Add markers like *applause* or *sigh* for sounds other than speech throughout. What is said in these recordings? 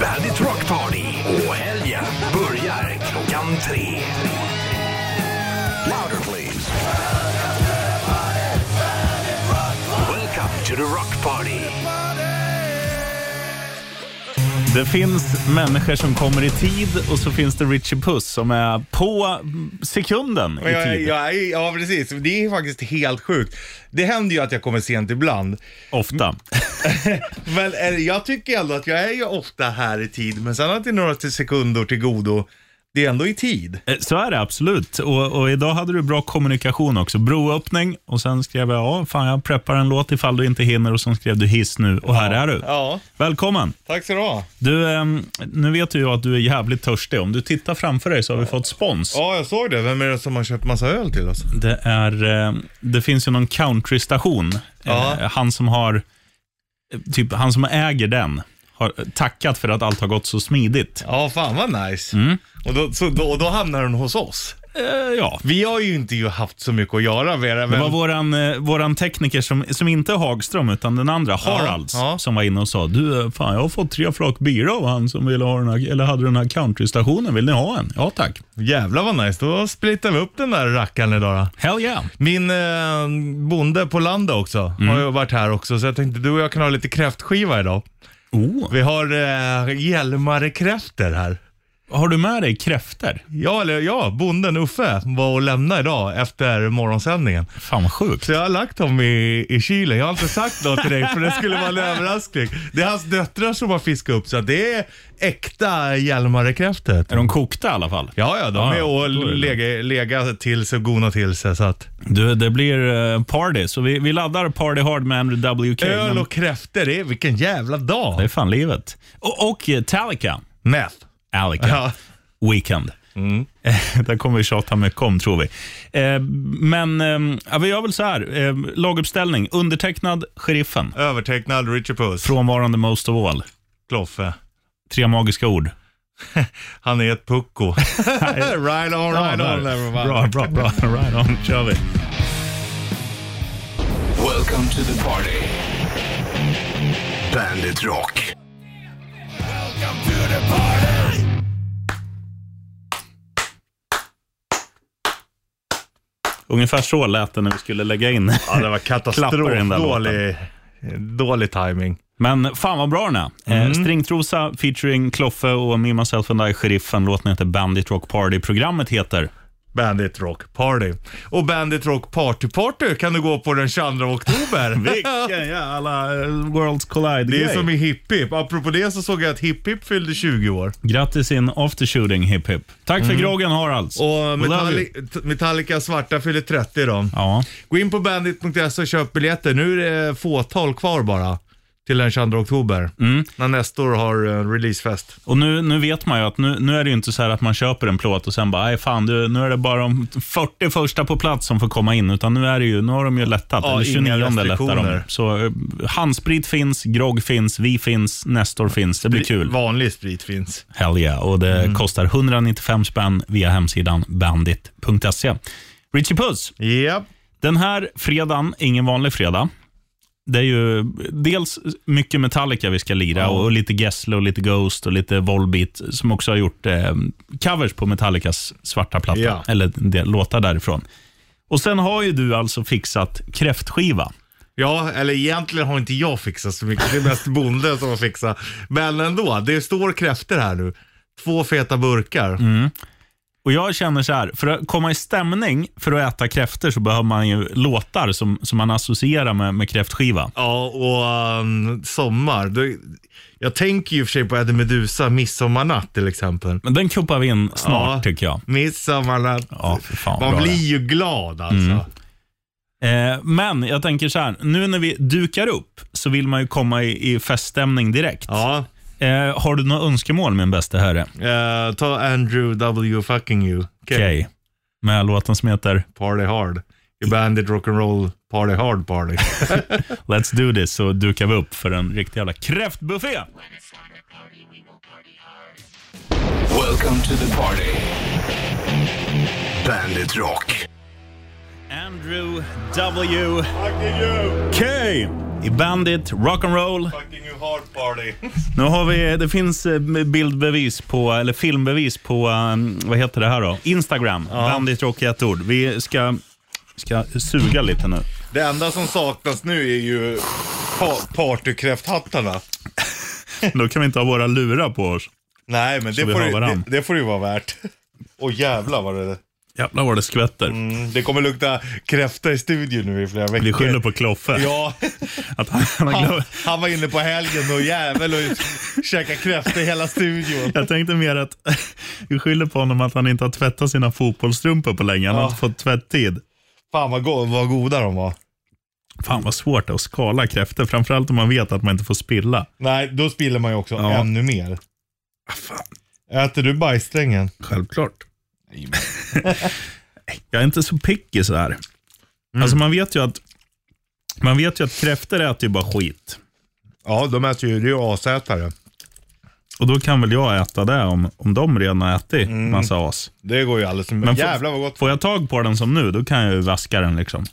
Bandit Rock Party och helgen börjar klockan tre. Louder please. Welcome to the Rock Party. Det finns människor som kommer i tid och så finns det Richie Puss som är på sekunden i Ja, tid. ja, ja, precis. Det är faktiskt helt sjukt. Det händer ju att jag kommer sent ibland. Ofta. Men eh, jag tycker ändå att jag är ju ofta här i tid, men sen att det är några till sekunder till godo, det är ändå i tid. Eh, Så är det absolut. Och, och idag hade du bra kommunikation också. Broöppning och sen skrev jag, ja, fan jag preppar en låt ifall du inte hinner och sen skrev du hiss nu och här är du. Ja, Välkommen. tack så du ha. Du, ehm, nu vet du ju att du är jävligt törstig. Om du tittar framför dig så har vi fått spons. Ja, jag såg det. Vem är det som har köpt massa öl till oss? Det, är, eh, det finns ju någon countrystation. Eh, Ja. Han som har eh, typ, han som äger den har tackat för att allt har gått så smidigt. Ja, fan vad nice. Och, då, så, då, och då hamnar den hos oss. Eh, ja. Vi har ju inte ju haft så mycket att göra med det, Det var men... våran, eh, våran tekniker, som, som inte är Hagström, utan den andra, Haralds, ja. som var inne och sa du, eh, fan jag har fått tre flak bira av han som ville ha den här, eller hade den här countrystationen. Vill ni ha en? Ja tack. Jävlar vad nice. Då splittar vi upp den där rackaren idag då. Hell yeah. Min eh, bonde på landet också Mm. har ju varit här också, så jag tänkte du och jag kan ha lite kräftskiva idag. Oh. Vi har eh, Hjälmarekräftor här. Har du med dig kräftor? Ja, eller ja, bonden Uffe var och lämnade idag efter morgonsändningen. Fan vad sjukt. Så jag har lagt dem i, i kylen. Jag har inte sagt något till dig för det *laughs* skulle vara en överraskning. Det är hans döttrar som har fiskat upp så att det är äkta Hjälmarekräftor. Är de kokta i alla fall? Ja, ja, de Ja, är ja, och då är det lega, lega till sig och gona till sig. Så att, Du, det blir eh, party, så vi, vi laddar party hard med Andrew WK. öl men och kräftor, det är, vilken jävla Det dag. är fan livet. Och, och eh, Talica. Meth. Alica. Ja. Weekend. *laughs* Där kommer vi tjata mycket om, tror vi. Eh, men eh, ja, vi gör väl så här. Eh, laguppställning. Undertecknad Sheriffen. Övertecknad Richard Puss. Frånvarande Most of All. Kloffe. Tre magiska ord. Han är *laughs* ett pucko. right on, Ja, right on där. everybody. bra, bra, bra. Right on. *laughs* kör vi. Welcome to the party. Bandit Rock. Welcome to the party. Ungefär så lät det när vi skulle lägga in. Ja, det var Klappar i den katastrof. där Dålig, dålig timing. Men fan vad bra den är. Eh, Stringtrosa featuring Kloffe och Me, Myself and I, Sheriffen. Låten heter Bandit Rock Party. Programmet heter Bandit Rock Party. Och Bandit Rock Party Party kan du gå på den 22 *laughs* oktober. Vilken jävla eh, Worlds Collide det är som i- i Hipp Hipp. Apropå det så såg jag att Hipp Hipp fyllde 20 år. Grattis in aftershooting hip hip. Tack för groggen Haralds. Mm. Och eh, We love Metalli you. Metallica Svarta fyller 30 då. Ja, Gå in på bandit.se och köp biljetter. Nu är det fåtal kvar bara. Till den 22 oktober. Mm. När Nestor har eh, releasefest. och nu, nu vet man ju att nu, nu är det ju inte så här att man köper en plåt och sen bara, nej fan, du, nu är det bara de 40 första på plats som får komma in, utan nu, är det ju, nu har de ju lättat. Ja, eller inga 29 lättar de. restriktioner. Så eh, handsprit finns, grogg finns, vi finns, Nestor finns. Det blir kul. Vanlig sprit finns. Hell yeah. Och det Mm. kostar 195 spänn via hemsidan bandit.se. Richie Puss, Japp. den här fredagen, ingen vanlig fredag. Det är ju dels mycket Metallica vi ska lira och lite Gessle och lite Ghost och lite Volbeat som också har gjort eh, covers på Metallicas svarta platta, Ja. eller en del låtar därifrån. Och sen har ju du alltså fixat kräftskiva. Ja, eller egentligen har inte jag fixat så mycket. Det är mest bonden som har fixat. Men ändå, det står kräftor här nu. Två feta burkar. Mm. Och jag känner så här, för att komma i stämning för att äta kräftor så behöver man ju låtar som, som man associerar med, med kräftskiva. Ja, och um, sommar. Du, jag tänker ju i och för sig på Eddie Meduza, Midsommarnatt till exempel. Men den kuppar vi in snart Ja. tycker jag. Midsommarnatt. Ja, för fan, Man bra blir det. Mm. ju glad alltså. Eh, men jag tänker så här, nu när vi dukar upp så vill man ju komma i, i feststämning direkt. Ja, Eh, har du några önskemål min bästa herre? eh, ta Andrew W. Fucking You. Okej. Med låten som heter Party Hard. I Bandit Rock'n'Roll Party Hard Party. Let's Do This så dukar vi upp för en riktig jävla kräftbuffé. Welcome to the party. Bandit Rock. Andrew W. K. I Bandit Rock'n'Roll. Fucking you hard party. Nu har vi, det finns eh, bildbevis på, eller filmbevis på, eh, vad heter det här då? Instagram. Bandit Rock i ett ord. Vi ska, ska suga lite nu. *laughs* Det enda som saknas nu är ju pa- partykräfthattarna. Då kan vi inte ha våra lurar på oss. Nej, men det vi får, har ju, det, varann. det får ju vara värt. *laughs* Åh jävlar vad det Jävlar vad det skvätter. mm, Det kommer lukta kräfta i studion nu i flera veckor. Vi skyller på Kloffe. *laughs* Ja, Att han, han har han, glömt. han var inne på helgen och jävel och käkade kräfta i hela studion. Jag tänkte mer att *laughs* vi skyller på honom att han inte har tvättat sina fotbollsstrumpor på länge. Han har Ja. inte fått tvätttid. Fan vad, go- vad goda de var. Fan vad svårt det är att skala kräftor, framförallt om man vet att man inte får spilla. Nej, då spiller man ju också Ja. ännu mer. Ah, fan, Äter du bajssträngen? självklart. *laughs* Jag är inte så picky så här. Mm. Alltså man vet ju att man vet ju att kräftor äter ju bara skit. Ja, de äter ju, det är ju asätare. Och då kan väl jag äta det om, om de redan har ätit massa as. Det går ju alldeles... Men Men får- Mm. jävlar vad gott. Får jag tag på den som nu, då kan jag ju vaska den liksom.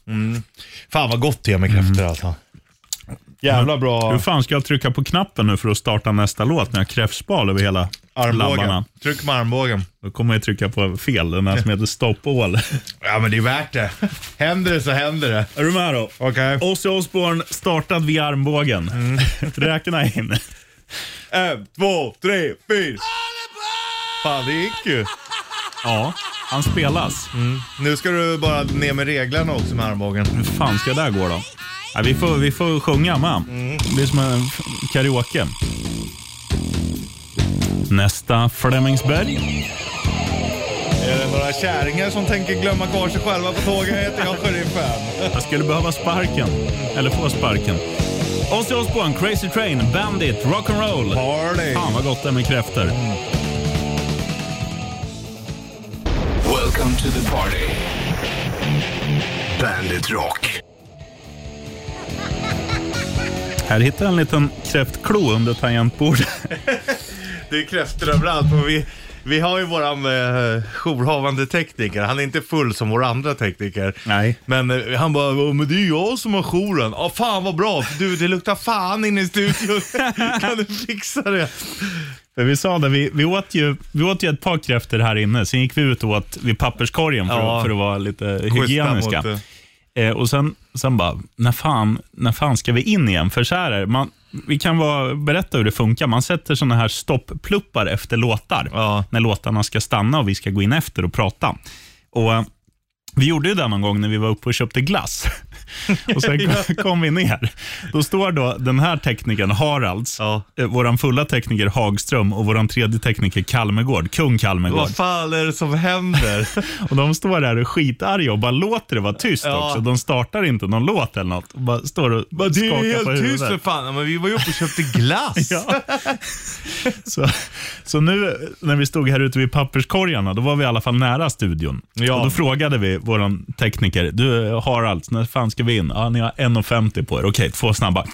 Fan vad gott det är med kräftor alltså. Jävla Hur bra fan ska jag trycka på knappen nu för att starta nästa låt när jag har kräftspal över hela armbågen. labbarna? Tryck med armbågen. Då kommer jag trycka på fel, den här som heter Stop All. Ja men det är värt det. Händer det så händer det. *laughs* Är du med då? Okej. Ozzy Osbourne startad vid armbågen. *laughs* Räkna in. En, två, tre, fyra. Fan det gick ju. Ja, han spelas. Nu ska du bara ner med reglarna också med armbågen. Hur fan ska det här gå då? Ja, vi, får, vi får sjunga med. Det är som en f- karaoke. Nästa Flemingsberg. Är det några kärringar som tänker glömma kvar sig själva på tåget heter jag sheriffen. Jag skulle behöva sparken. Eller få sparken. Ozzy Osbourne, Crazy Train, Bandit, Rock'n'Roll. Party. Fan vad gott det är med kräftor. Welcome to the party. Bandit Rock. Här hittar jag en liten kräftklo under tangentbordet. *laughs* Det är kräftor överallt men vi, vi har ju våran eh, jourhavande tekniker. Han är inte full som våra andra tekniker. Nej. Men eh, han bara, "Åh, men det är ju jag som har jouren. Ja, fan vad bra. för Du, det luktar fan inne i studion. *laughs* kan du fixa det? För vi sa det, vi, vi, åt ju, vi åt ju ett par kräftor här inne. Sen gick vi ut och åt vid papperskorgen för, Ja. att, för att vara lite Schyssta hygieniska. mot, eh, Eh, och sen, sen bara, när fan, när fan ska vi in igen? För så här är det, man, vi kan vara, berätta hur det funkar. Man sätter såna här stopppluppar efter låtar. Ja. När låtarna ska stanna och vi ska gå in efter och prata. Och eh, vi gjorde ju det någon gång när vi var uppe och köpte glass. *laughs* och sen kom, *laughs* kom vi ner. Då står då den här teknikern Haralds, Ja. eh, vår fulla tekniker Hagström och vår tredje tekniker Kalmegård, kung Kalmegård. Vad fan är det *laughs* som händer? Och de står där och är skitarga och bara låter det vara tyst Ja. också. De startar inte någon låt eller något. Och bara står och Ja, Det är ju skakar på helt tyst för huvudet. fan. Ja, Men vi var ju uppe och köpte *laughs* glass. *laughs* Ja. Så, så nu när vi stod här ute vid papperskorgarna, då var vi i alla fall nära studion. Ja. Och då frågade vi vår tekniker, du Harald, när fan ska vi in? Ja, ni har 1,50 på er. Okej, två snabba.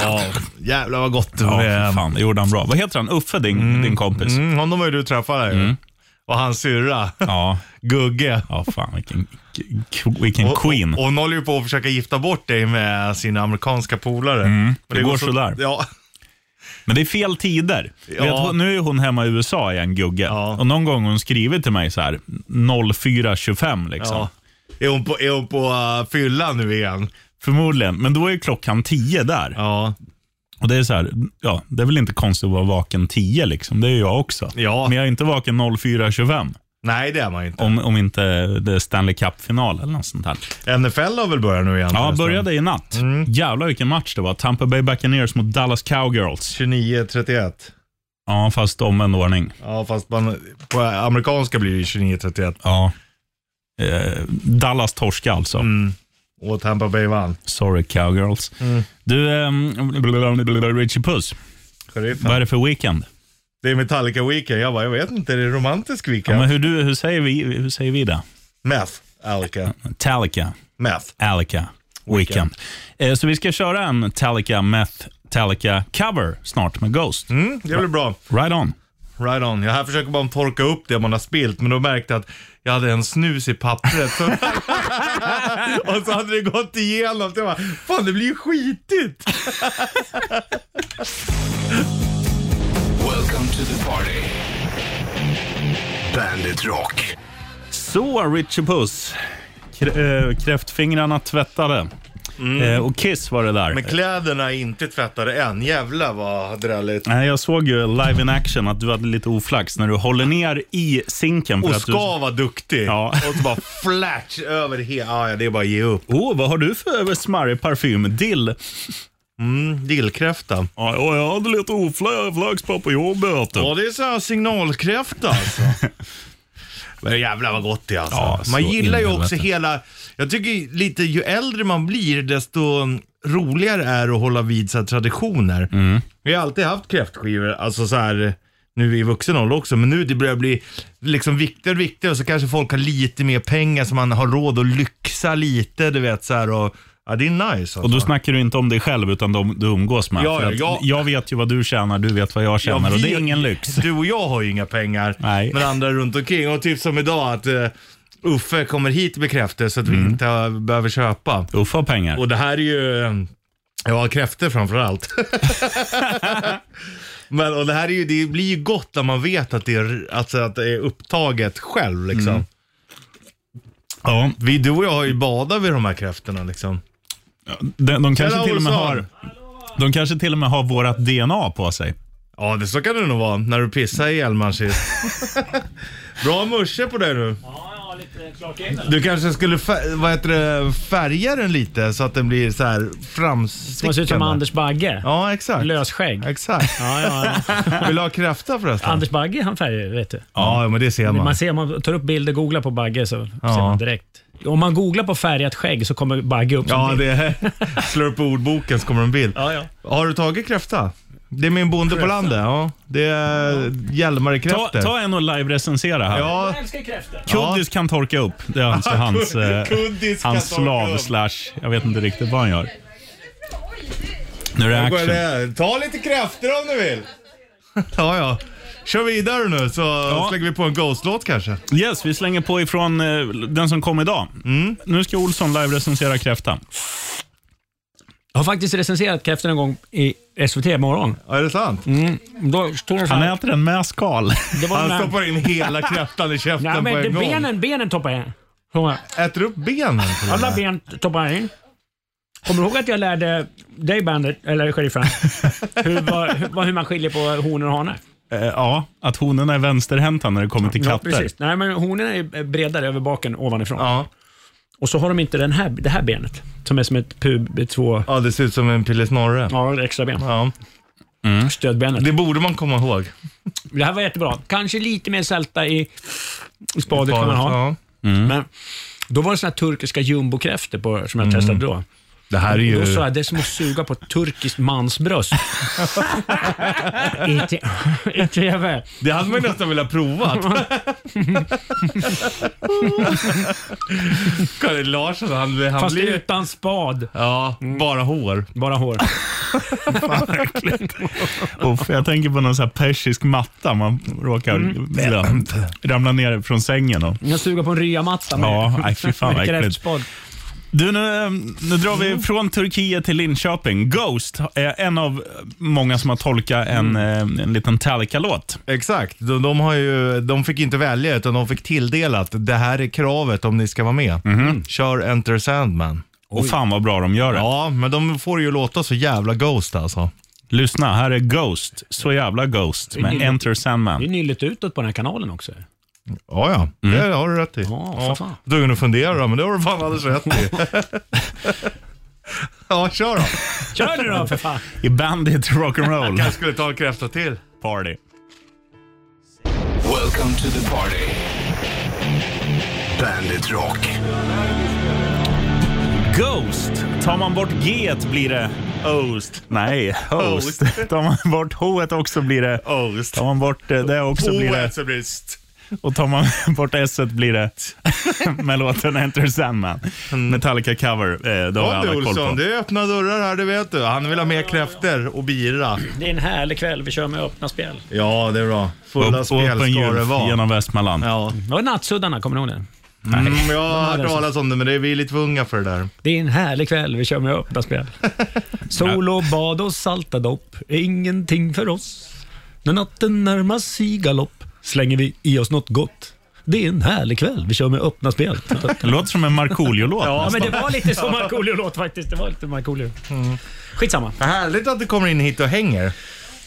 Ja, jävlar vad gott det Ja, var. fy fan, det gjorde han bra. Vad heter han? Uffe, din, din kompis? Mm, honom har ju du träffat här Mm. ju. Och hans syrra, *laughs* Ja. Gugge. ja, fan vilken, vilken Och- queen. Och, och hon håller ju på att försöka gifta bort dig med sina amerikanska polare. Men Mm. det går sådär. Ja, Men det är fel tider. Ja. Vet, hon- nu är hon hemma i USA igen, Gugge. Ja. Och någon gång har hon skrivit till mig så här 04.25 liksom. ja. Är hon på, är hon på uh, fyllan nu igen? Förmodligen, men då är ju klockan 10 där. Ja. Och det är så här, ja, det är väl inte konstigt att vara vaken 10 liksom. Det är ju jag också. Ja. Men jag är inte vaken 04.25 Nej, det är man ju inte. om, om inte det är Stanley Cup-final eller något sånt här. NFL har väl börjat nu igen? Ja, förresten. började i natt. Mm. Jävlar vilken match det var. Tampa Bay Buccaneers mot Dallas Cowgirls. 29-31. Ja, fast omvänd ordning. Ja, fast man, på amerikanska blir det ju 29-31. Ja. Eh, Dallas torska alltså. Och Tampa Bay vann. Sorry cowgirls. Mm. Du, um, Richie Puss, Sheriffen. vad är det för weekend? Det är Metallica Weekend. Jag bara, jag vet inte. Är det romantisk Ja, weekend? men hur, du, hur, säger vi, hur säger vi det? Meth. Alka. Talica, Meth. Alica, Weekend. Eh, så vi ska köra en Talica Meth Talica cover snart med Ghost. Mm, det blir bra. Right on. right on. Jag här försöker bara torka upp det man har spilt, men då märkte jag att jag hade en snus i pappret. Så... *laughs* och så hade det gått igenom. Så jag bara, fan det blir ju skitigt. Welcome to the party. Bandit Rock. Så, Richie Puss. Krä- eh, kräftfingrarna tvättade. Eh, och Kiss var det där. Mm. Men kläderna är inte tvättade än. Jävlar vad drälligt. Nej, jag såg ju live in action att du hade lite oflax när du håller ner i sinken. För Och att ska vara duktig. Ja. Och så bara flash över hela. Ah, ja, det är bara att ge upp. Du... Oh, vad har du för smarrig parfym? Dill? Mm, dillkräfta. Ja, ja, jag hade lite oflax på jobbet. Ja. Ja, det är så här signalkräfta alltså. *laughs* Men jävlar vad gott det är alltså. Ja, man så gillar ju in i också helvete. hela, jag tycker lite ju äldre man blir desto roligare är det att hålla vid så här traditioner. Vi har alltid haft kräftskivor, alltså så här nu i vuxen ålder också, men nu det börjar bli liksom viktigare och viktigare så kanske folk har lite mer pengar så man har råd att lyxa lite, du vet så här och ja det är nice alltså. Och då snackar du inte om dig själv, utan de du umgås med. Ja, För ja, att ja. Jag vet ju vad du tjänar, du vet vad jag Ja, tjänar och det vi- är ingen lyx. Du och jag har ju inga pengar. Nej. Men andra runt omkring. Och typ som idag att eh, Uffe kommer hit med kräftor så att Mm. vi inte eh, behöver köpa. Uffe har pengar. Och det här är ju, eh, ja kräftor framförallt. *laughs* Men och det här är ju, det blir ju gott när man vet att det är, alltså, att det är upptaget själv liksom. Mm. Ja, Vi, du och jag har ju badat vid de här kräftorna liksom. de, de, kanske Tjena, till och med Olsson. har, de kanske till och med har vårt DNA på sig. Ja, det så kan det nog vara. När du pissar ihjäl man shit. *laughs* Bra musche på dig nu. Ja, lite klart in eller? Du kanske skulle fär- vad heter det, färga den lite så att den blir så här framstickande. Man ser ut som Anders Bagge. Ja, exakt. Lösskägg. Exakt. Ja, ja, ja. Vill du ha kräfta förresten? Anders Bagge han färgar vet du. Ja, men det ser man. Man ser om man tar upp bilder och googlar på Bagge så Ja. ser man direkt. Om man googlar på färgat skägg så kommer Bagge upp som Ja, bild. det är... *laughs* Slår upp ordboken så kommer en bild. Ja, ja. Har du tagit kräfta? Det är min bonde på landet. Ja, det är Ta, Hjälmarekräftor. ta en och live-recensera här. Ja, Jag älskar kräftor. Kuddis kan torka upp. Det är *laughs* alltså hans, eh, Kuddis kan hans torka slav upp. slash, jag vet inte riktigt vad han gör. Nu är det Vad är det action. här? ta lite kräftor om du vill. *laughs* Ja, ja. Kör vidare nu så slänger vi på en Ghost-låt kanske. Yes, vi slänger på ifrån eh, den som kom idag. Mm. Nu ska Olsson live-recensera kräfta. Jag har faktiskt recenserat kräftor en gång i SVT morgon. Ja, är det sant? Då stod det så Han här. äter den med skal. Det var Han den här- stoppar in *laughs* hela kräftan i käften Alltså, Nej, på men en det, gång. benen, benen toppar jag. Så, Äter upp benen? till och Alla med? ben toppar jag in. Kommer du ihåg att jag lärde dig bandet, *laughs* eller sheriffen, hur, vad- hur, vad- hur man skiljer på honor och hanar? Eh, ja, att honorna är vänsterhänta när det kommer till Ja, katter. precis. Nej, men honorna är bredare över baken ovanifrån. Ja. Och så har de inte den här, det här benet som är som ett pub, två, ja, det ser ut som en pillesnorre. ja, extra ben. Ja. Stödbenet. Det borde man komma ihåg. Det här var jättebra. Kanske lite mer sälta i, i spadet kan man ha. Ja. Men då var det såna här turkiska jumbokräftor på- som jag testade då. Det här är Och Då ju... sa jag, det är som att suga på ett turkiskt mansbröst. I te- I TV. Det hade man ju nästan velat *laughs* prova. *laughs* Karin Larsson, han, han Fast Mm. blir... utan spad, Ja, bara hår. bara hår. Uff, jag tänker på någon så här persisk matta man råkar mm. ramla ner från sängen. Och, Jag suger på en ryamatta med, ja, nej, fy fan vad med äckligt. kräftspad. Du, nu, eh, nu drar vi från Turkiet till Linköping. Ghost är en av eh, många som har tolkat en, eh, en liten Metallica-låt. Exakt. De, de, har ju, de fick inte välja utan de fick tilldelat. Det här är kravet om ni ska vara med. Kör Enter Sandman. Och fan vad bra de gör det. Mhm. Ja, men de får ju låta så jävla Ghost alltså. Lyssna, här är Ghost. Så jävla Ghost med Mm. Enter Det är Sandman. nyligt utåt på den här kanalen också. Ja, ja. Det har du rätt i. Ja, för fan. Du kunde fundera då, men det har du fan alldeles rätt *laughs* i. ja, kör då. Kör nu *laughs* då för fan! I Bandit Rock'n'Roll Jag skulle ta en kräfta till. *laughs* Party. Welcome to the party. Bandit Rock. Ghost. Tar man bort G blir det Ost. Nej, Host. Tar man bort H också blir det Ost. Oh, Tar man bort eh, det också blir det så blir det st. Och tar man *laughs* bort s blir det *laughs* med låten Enter Sandman. Metallica cover. Eh, det har Ja alla du koll på. Olsson, det är öppna dörrar här, det vet du. Han vill ha mer kräfter och bira. Det är en härlig kväll. Vi kör med öppna spjäll. Ja, det är bra. Upp- Fulla spel Open ska det Youth vara. genom Västmanland. Ja. Det var Nattsuddarna, kommer ni ihåg det? Mm, jag har hört det så. talas om det, men det är, vi är lite för unga för det där. Det är en härlig kväll, vi kör med öppna *laughs* spjäll. Sol och bad och salta dopp är ingenting för oss. När natten närmar sig galopp slänger vi i oss något gott. Det är en härlig kväll, vi kör med öppna *laughs* spjäll. Det låter som en Markoolio-låt. Ja, nästan. men det var lite som Markoolio-låt faktiskt. Det var lite Markoolio. Skitsamma. Härligt att du kommer in hit och hänger.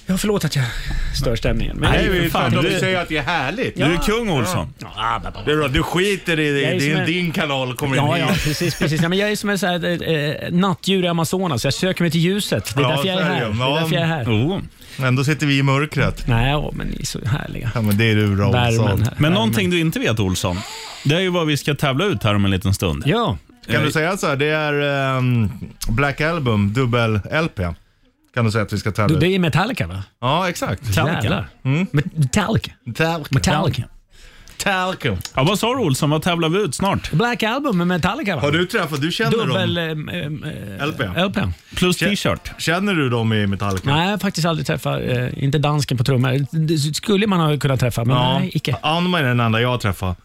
Ja, förlåt att jag stör stämningen. Men Nej, vi fan, fan, du- vi säger att det är härligt. Du är kung, Olsson. Ja, ba, ba, ba. Det är bra, du skiter i Jag det. är Din, som en- din kanal kommer in Ja, ja, hit. precis. precis. Ja, men jag är som en så här, eh, nattdjur i Amazonas. Jag söker mig till ljuset. Det är Ja, därför jag är så är det här. ju. Det Ja. är därför jag är här. Oh. Ändå sitter vi i mörkret. Nej, ja, men ni är så härliga. Ja, men det är du bra Värmen Olsson. här. Men någonting du inte vet, Olsson, det är ju vad vi ska tävla ut här om en liten stund. Ja, Kan du säga så här, det är ehm, Black Album, dubbel-LP. Kan du säga att vi ska du, tävla det ut? är Metallica va? Ja, exakt. Jävlar. Mm. Metallica. Metallica. Talcum. Ja, vad sa du, Olsson? Vad tävlar vi ut snart? Black Album med Metallica va? Har du träffat, du känner Dubbel... dem? ehm, ehm, eh, LP. LP. Plus t-shirt. Känner du dem i Metallica? Nej, jag har faktiskt aldrig träffat, eh, inte dansken på trummor. Det skulle man ha kunnat träffa, men nej, icke. Anman är den enda jag träffar. I'm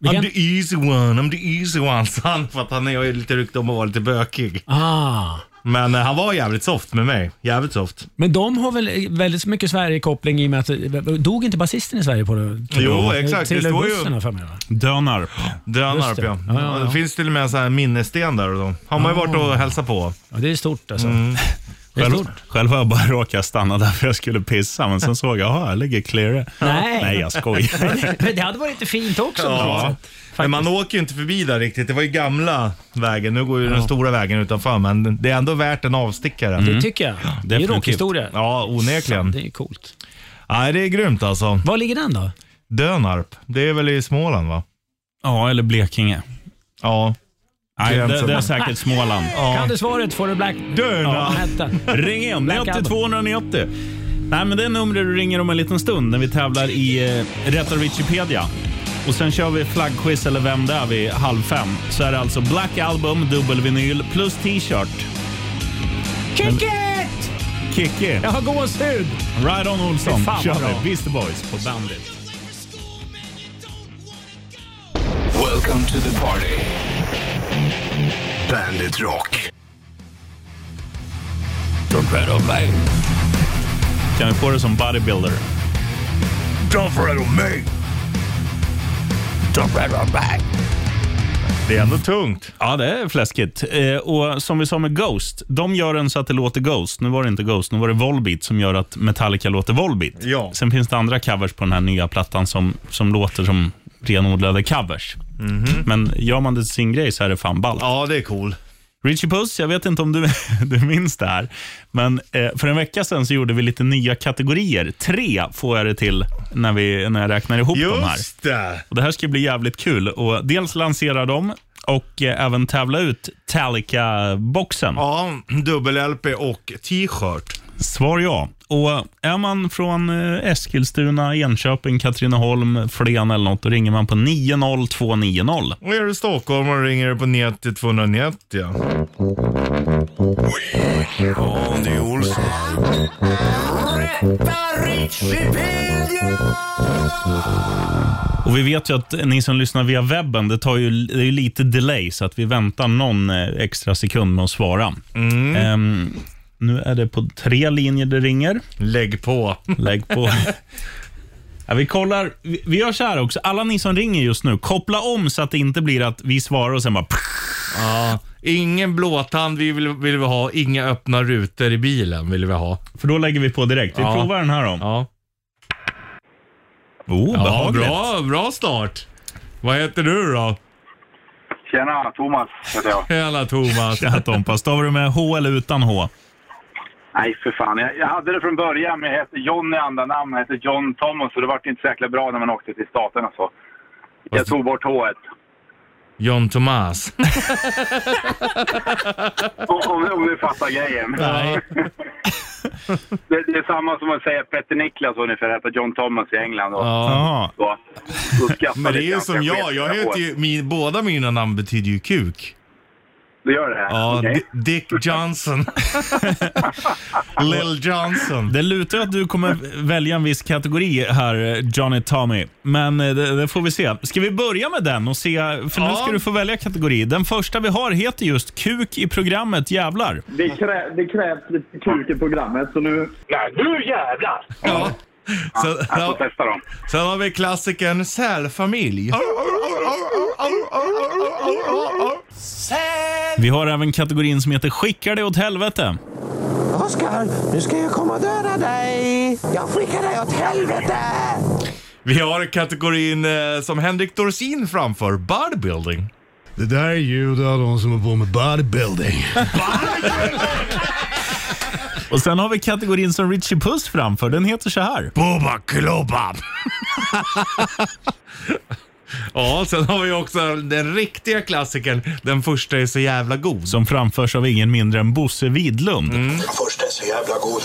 Vilken? the easy one, I'm the easy one. *laughs* sa han för att han är ju lite rykte om att vara lite bökig. Ah. Men eh, han var jävligt soft med mig. Jävligt soft. Men de har väl väldigt mycket Sverige-koppling i och med att, dog inte basisten i Sverige på det? Jo, exakt. Det Till står ju bussen har jag för mig va? Dönarp. Drönarp det. ja. Ja, ja, Ah. ja. Det finns till och med en sån här minnessten där och då. Har man ju varit och hälsat på. Ja, det är stort alltså. Mm. Det *gasps* är Själv, stort. själv har jag bara *laughs* råkat stanna där för jag skulle pissa, men sen såg jag, jaha, jag ligger clear. Nej. Nej, jag skojar. *laughs* Men det hade varit lite fint också. på något Ja. sätt. Men man åker ju inte förbi där riktigt. Det var ju gamla vägen. Nu går ju den stora vägen utanför, men det är ändå värt en avstickare. Det tycker jag. det är ju definitivt. rockhistoria. Mm. Ja, onekligen. Det är coolt. Nej, det är grymt alltså. Var ligger den då? Dönarp, det är väl i Småland va? Ja, eller Blekinge. Ja. Nej, det, Gränsen. det är säkert Småland. Kan du svaret får du Black... Dörna. Ja, *laughs* vänta. Ring in, 90 290. Nej, men det är numret du ringer om en liten stund när vi tävlar i eh, Rätta Wikipedia. Och sen kör vi flaggquiz eller vem det är vid halv fem. Så är det alltså Black Album, dubbelvinyl plus t-shirt. Kick it! Kikki, Jag har gåshud. Right On Olsson, Fy fan, kör vad bra. vi. Beastie Boys på Bandit. Welcome to the party. Bandit Rock. Don't tread on me. Kan vi få det som bodybuilder? Don't tread on me. Don't tread on me. Det är ändå tungt. Ja, det är fläskigt. Eh, och som vi sa med Ghost, de gör den så att det låter Ghost. Nu var det inte Ghost, nu var det Volbeat som gör att Metallica låter Volbeat. Ja. Sen finns det andra covers på den här nya plattan som, som låter som renodlade covers. Men gör man det till sin grej så är det fan ballt. Mhm. Ja, det är cool. Richie Puss, jag vet inte om du, *laughs* du minns det här, men eh, för en vecka sedan så gjorde vi lite nya kategorier. Tre får jag det till när, vi, när jag räknar ihop de här. Just det! Och Det här ska bli jävligt kul. Och dels lansera dem och eh, även tävla ut Talica-boxen. Ja, dubbel-LP och t-shirt. Svar ja. Och är man från eh, Eskilstuna, Enköping, Katrineholm, Flen eller något, då ringer man på 90290. Och är du stockholmare ringer du på 90 290. Ja. Andy Olsson. Och Vi vet ju att ni som lyssnar via webben, det, tar ju, det är ju lite delay, så att vi väntar någon eh, extra sekund med att svara. Ehm, nu är det på tre linjer det ringer. Lägg på. Lägg på. Ja, vi kollar. Vi, vi gör så här också. Alla ni som ringer just nu, koppla om så att det inte blir att vi svarar och sen bara... Ja. Ingen blåtand vi vill, vill vi ha, inga öppna rutor i bilen vill vi ha. För då lägger vi på direkt. Vi Ja. provar den här då. Ja, Oh, ja behagligt. bra, bra start. Vad heter du då? Tjena, Thomas heter jag. Hela Thomas. Tjena Tompa. Stavar du med H eller utan H? Nej, för fan. Jag, jag hade det från början, men jag heter John i andra namn. Jag heter John *laughs* Thomas, så det vart inte så jäkla bra när man åkte till staterna så. Jag tog bort H1. John Thomas. Om, om, om ni fattar grejen. Nej. *laughs* Det, det är samma som att säga Petter Niklas ungefär, heter John Thomas i England. Och, Jaha. så, då skrattar Men det är ju ganska som jag. skevt jag några heter år. ju, min, båda mina namn betyder ju kuk. Du gör det? Ja, Okej. Di- Dick *laughs* Johnson. Lil Johnson. Det lutar att du kommer välja en viss kategori här, eh, Johnny Tommy. Men eh, det, det får vi se. Ska vi börja med den och se? För nu Ja. ska du få välja kategori. Den första vi har heter just Kuk i programmet jävlar. Det, krä, det krävs lite kuk i programmet, så nu... Nej, nu jävlar! Ja. Så, Jag får ja. testa dem. Sen har vi klassikern sälfamilj. Vi har även kategorin som heter Skicka dig åt helvete. Oskar, nu ska jag komma och döda dig! Jag skickar dig åt helvete! Vi har kategorin eh, som Henrik Dorsin framför, bodybuilding. Det där är ljud av de som är på med bodybuilding. Och sen har vi kategorin som Richie Puss framför. Den heter så här. Boba Klobab! ja, sen har vi också den riktiga klassikern, den första är så jävla god. Som framförs av ingen mindre än Bosse Widlund. Först är så jävla god.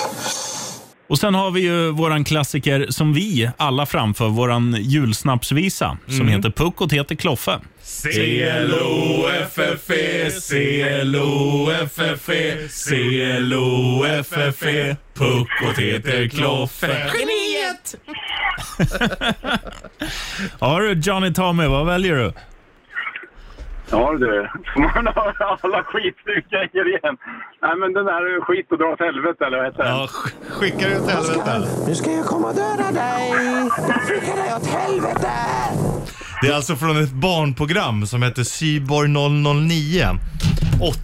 Och sen har vi ju våran klassiker som vi alla framför, våran julsnapsvisa. Som heter Puckot heter Kloffe. C-L-O-F-F-E, C-L-O-F-F-E, C-L-O-F-F-E, Puckot heter Kloffe. Ja du Johnny Tommy, vad väljer du? Ja du, *laughs* får man höra alla skitgrejer igen? Nej men den där är ju skit och dra åt helvete eller vad heter den? Ja, sk- skicka det åt helvete. Nu ska jag komma och döda dig! Jag skickar dig åt helvete! Det är alltså från ett barnprogram som heter Cyborg 009.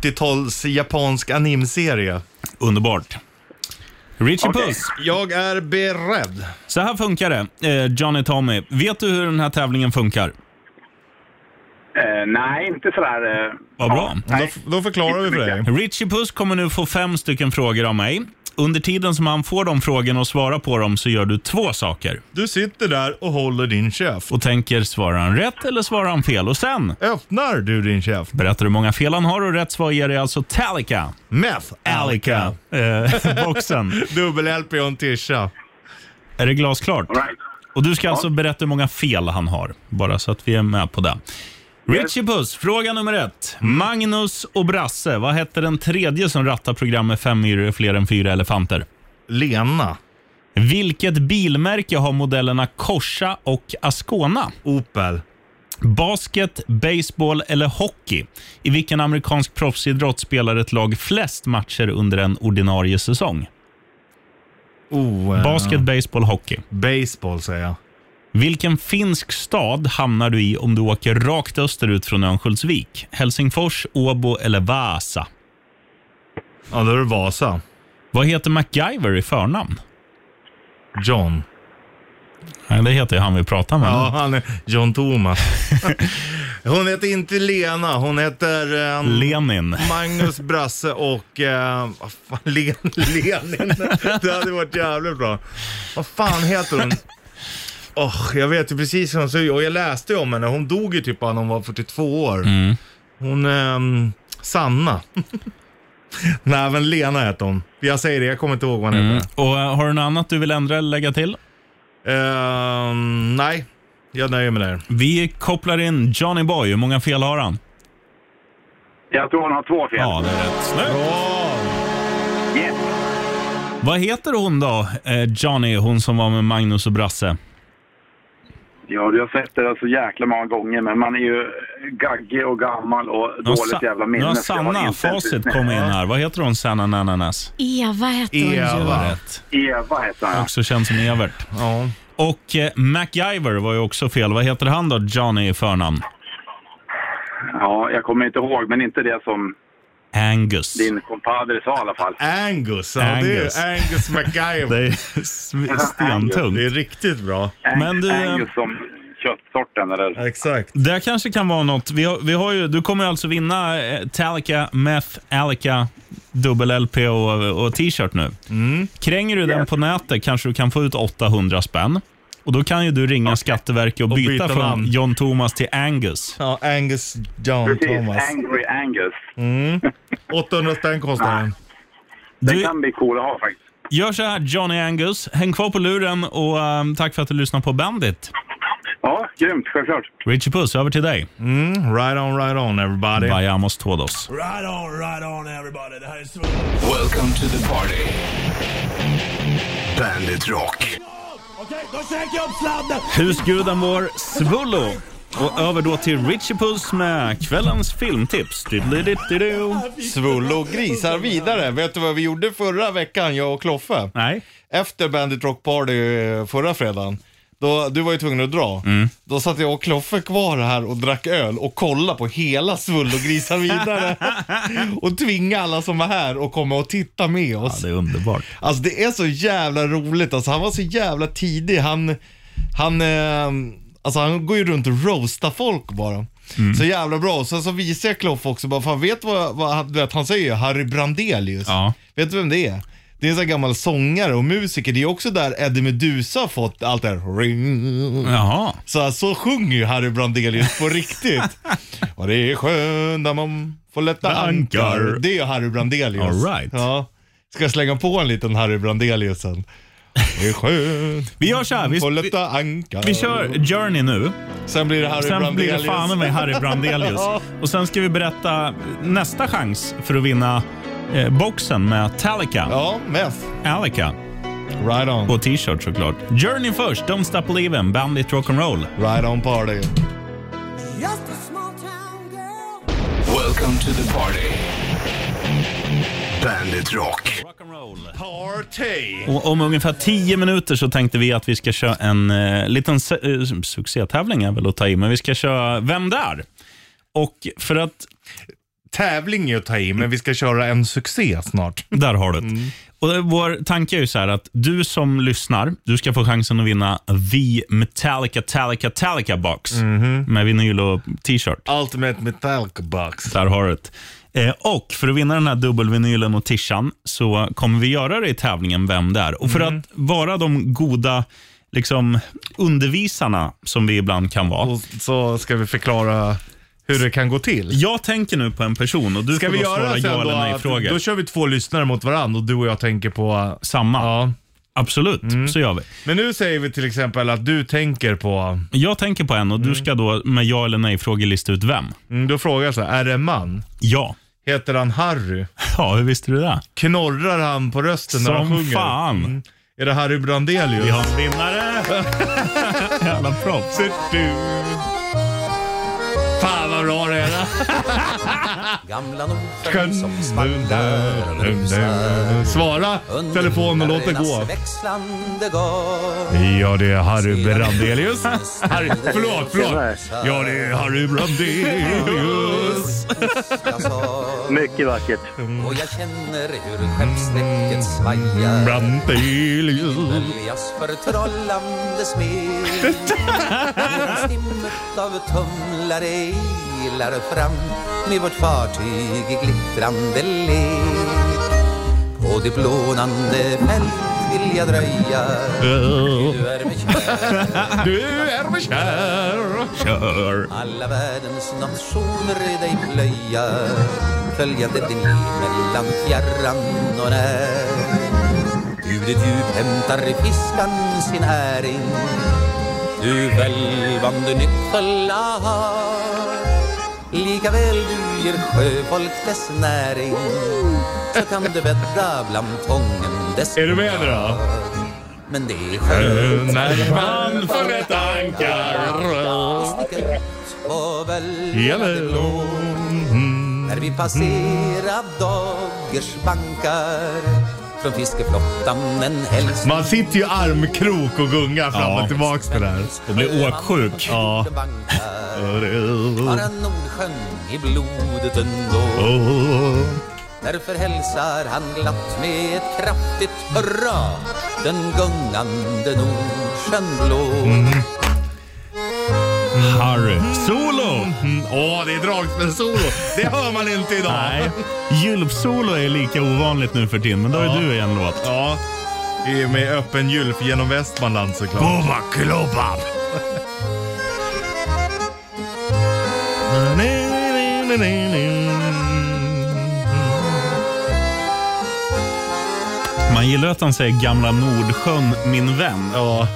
80-tals japansk animserie. Underbart. Richie Okej. Puss, Jag är beredd. så här funkar det. Eh, Johnny Tommy, vet du hur den här tävlingen funkar? Eh, nej, inte sådär... Eh, Vad bra. Då, då förklarar vi för dig. Richie Puss kommer nu få fem stycken frågor av mig. Under tiden som han får de frågorna och svarar på dem så gör du två saker. Du sitter där och håller din käft. Och tänker, svarar han rätt eller svarar han fel? Och sen Öppnar du din käft? berättar du hur många fel han har och rätt svar ger dig alltså Talica. Meth Alica. Eh, *laughs* boxen. Dubbel-LP och en tisha. Är det glasklart? all right. Och du ska alltså berätta hur många fel han har, bara så att vi är med på det. Richie Puss, fråga nummer ett. Magnus och Brasse, vad hette den tredje som rattar program med fem myror är fler än fyra elefanter? Lena. Vilket bilmärke har modellerna Corsa och Ascona? Opel. Basket, baseball eller hockey? I vilken amerikansk proffsidrott spelar ett lag flest matcher under en ordinarie säsong? Oh, eh, Basket, baseball, hockey. Baseball säger jag. Vilken finsk stad hamnar du i om du åker rakt österut från Örnsköldsvik? Helsingfors, Åbo eller Vasa? Ja, då är det Vasa. Vad heter MacGyver i förnamn? John. Nej, det heter ju han vi pratar med. Ja, han är John Thomas. hon heter inte Lena, hon heter... eh, Lenin. Magnus, Brasse och... Eh, vad fan, Len, *laughs* Lenin. Det hade varit jävligt bra. Vad fan heter hon? Oh, jag vet ju precis hur hon ser ut och jag läste ju om henne. Hon dog ju typ när hon var 42 år. Mm. Hon... ehm, Sanna. *laughs* Nej, men Lena heter hon. Jag säger det, jag kommer inte ihåg vad hon heter. Och eh, Har du något annat du vill ändra eller lägga till? Ehm, nej, jag nöjer mig där. Vi kopplar in Johnny Boy. Hur många fel har han? Jag tror han har två fel. Ja, det är rätt. Snyggt. Yes. Vad heter hon då, eh, Johnny, hon som var med Magnus och Brasse? Ja, du har sett det där så jäkla många gånger, men man är ju gaggig och gammal och Nu har dåligt Sa- jävla minne. Nu har så jag Sanna, inte ens- facit, kommit in här. Vad heter hon, Sanna Nananas? Eva hette hon Eva. ju. Rätt. *laughs* Eva heter han. Också känd som Evert. Ja. Och eh, MacGyver var ju också fel. Vad heter han då, Johnny i förnamn? Ja, jag kommer inte ihåg, men inte det som Angus. din kompadre sa i alla fall. Angus. Ja, Angus. Det är Angus. ju Angus Det MacGyver. är *laughs* *laughs* sm- stentungt. Det är riktigt *laughs* bra. Men du, eh, Angus som köttsorten, eller? Exakt. det kanske kan vara något. Vi har, vi har ju, du kommer ju alltså vinna eh, Talica, Meth, Alica, dubbel-LP Mm. och, och t-shirt nu. Kränger du den på nätet kanske du kan få ut 800 spänn. Och då kan ju du ringa Skatteverket och, Och byta, byta från namn. John Thomas till Angus. Ja, Angus John Precis, Thomas. Angry Angus. 800 spänn kostar den. Det Du, kan bli cool att ha faktiskt. gör så här Johnny Angus. Häng kvar på luren och ehm, tack för att du lyssnar på Bandit. Ja, grymt, självklart. Richie Puss, över till dig. Right on, right on everybody. Vayamos todos. Right on, right on everybody. Det här är Svullo. Welcome to the party. Bandit Rock. Okej, då käkar jag upp sladden. Husguden vår Svullo. Och över då till Richie Puss med kvällens filmtips. Diddly-diddly-do. Svullo grisar vidare. Vet du vad vi gjorde förra veckan, jag och Kloffe? Nej. Efter Bandit Rock Party eh, förra fredagen. Då, du var ju tvungen att dra. Då satt jag och Kloffe kvar här och drack öl och kollade på hela Svullo grisar vidare. *laughs* och tvingade alla som var här att komma och titta med oss. Ja, det är underbart. Alltså det är så jävla roligt. Alltså han var så jävla tidig. Han, han, eh, alltså, han går ju runt och roastar folk bara. Så jävla bra. Och sen så visar jag Kloff också bara, fan vet vad, vad han- du vet, han säger ju Harry Brandelius. Ja. Vet du vem det är? Det är en sån här gammal sångare och musiker. Det är också där Eddie Meduza har fått allt det här. Ring. Jaha. Så, så sjunger ju Harry Brandelius på riktigt. Och det är skönt när man får lätta Ankar. ankar. Det är ju Harry Brandelius. All right. Ja. Ska jag slänga på en liten Harry Brandelius sen? Det är skönt Vi gör så här. Vi, får vi, lätta ankar. vi kör Journey nu. Sen blir det Harry Sen blir Brandelius. det fan med Harry *laughs* Brandelius. Och sen ska vi berätta nästa chans för att vinna eh, boxen med Talica. Ja, meth. Alica. Right on. Och t-shirt såklart. Journey först, Don't Stop Believin', Bandit Rock'n'Roll. Right on party. Welcome to the party. Bandit Rock. Party. Och om ungefär 10 minuter så tänkte vi att vi ska köra en eh, liten se- eh, succétävling är väl att ta i, men vi ska köra Vem där? Och för att Tävling är att ta i, men vi ska köra en succé snart. Där har du det. Mm. Och eh, vår tanke är ju så här att du som lyssnar, du ska få chansen att vinna The Metallica Talica Talica Box Mhm. med vinyl och t-shirt. Ultimate Metallica Box. Där har du det. Eh, och för att vinna den här dubbelvinylen och tishan så kommer vi göra det i tävlingen Vem där? Och för Mm. att vara de goda liksom, undervisarna som vi ibland kan vara. Och så ska vi förklara hur det kan gå till. Jag tänker nu på en person och du Ska får vi då göra svara sen ja då eller att nej-frågor. då kör vi två lyssnare mot varandra och du och jag tänker på... Samma. Ja. Mm. Absolut, så gör vi. Men nu säger vi till exempel att du tänker på... Jag tänker på en och du ska då med ja eller nej-frågor lista ut vem. Mm, då frågar jag så här, är det en man? Ja. Heter han Harry? Ja, hur visste du det? Knorrar han på rösten när han Som sjunger? Mm. fan. Är det Harry Brandelius? Vi har en vinnare! Jävla proffs. Du. Fan vad bra det är. Gamla Nordsjön Skön. som svallar och rusar. Svara telefon och låt det gå. Under växlande garn. Ja, det är Harry Brandelius. Harry, förlåt, förlåt. Ja, det är Harry Brandelius. Jag sa, Mycket vackert. Mm. Och jag känner hur skeppsdäcket svajar. Brandelius. Elias förtrollande smed. Medan stimmet av tumlare ilar fram med vårt fartyg i glittrande led. På det blånande fält vill jag dröja. Du är mig kär. *laughs* Du är mig kär. Kör! Alla världens nationer i dig plöja Följande din liv mellan fjärran och när Bjudet djup hämtar fiskan sin äring Du välvande nyckfulla har Likaväl du ger sjöfolk dess näring Så kan du bädda bland tången dess Är du med nu då? Men det är skönt När man får ett ankar och väl gäller lån. När vi passerar Daggers bankar Från fiskeflottan en hälsning Man sitter ju i armkrok och gungar fram Ja. och tillbaks det där. Och blir åksjuk. Ja. Åh, Bara Nordsjön i blodet ändå åh. Därför hälsar han glatt med ett kraftigt hurra Den gungande Nordsjön blå Harry. Solo! Mm, Åh, det är dragspelssolo. Det hör man inte idag. Nej. Julpsolo är lika ovanligt nu för tiden, men då är Ja. du i en låt. Ja. I och med öppen gylf genom Västmanland såklart. Boba Klobab. Man gillar att han säger Gamla Nordsjön, min vän. Ja.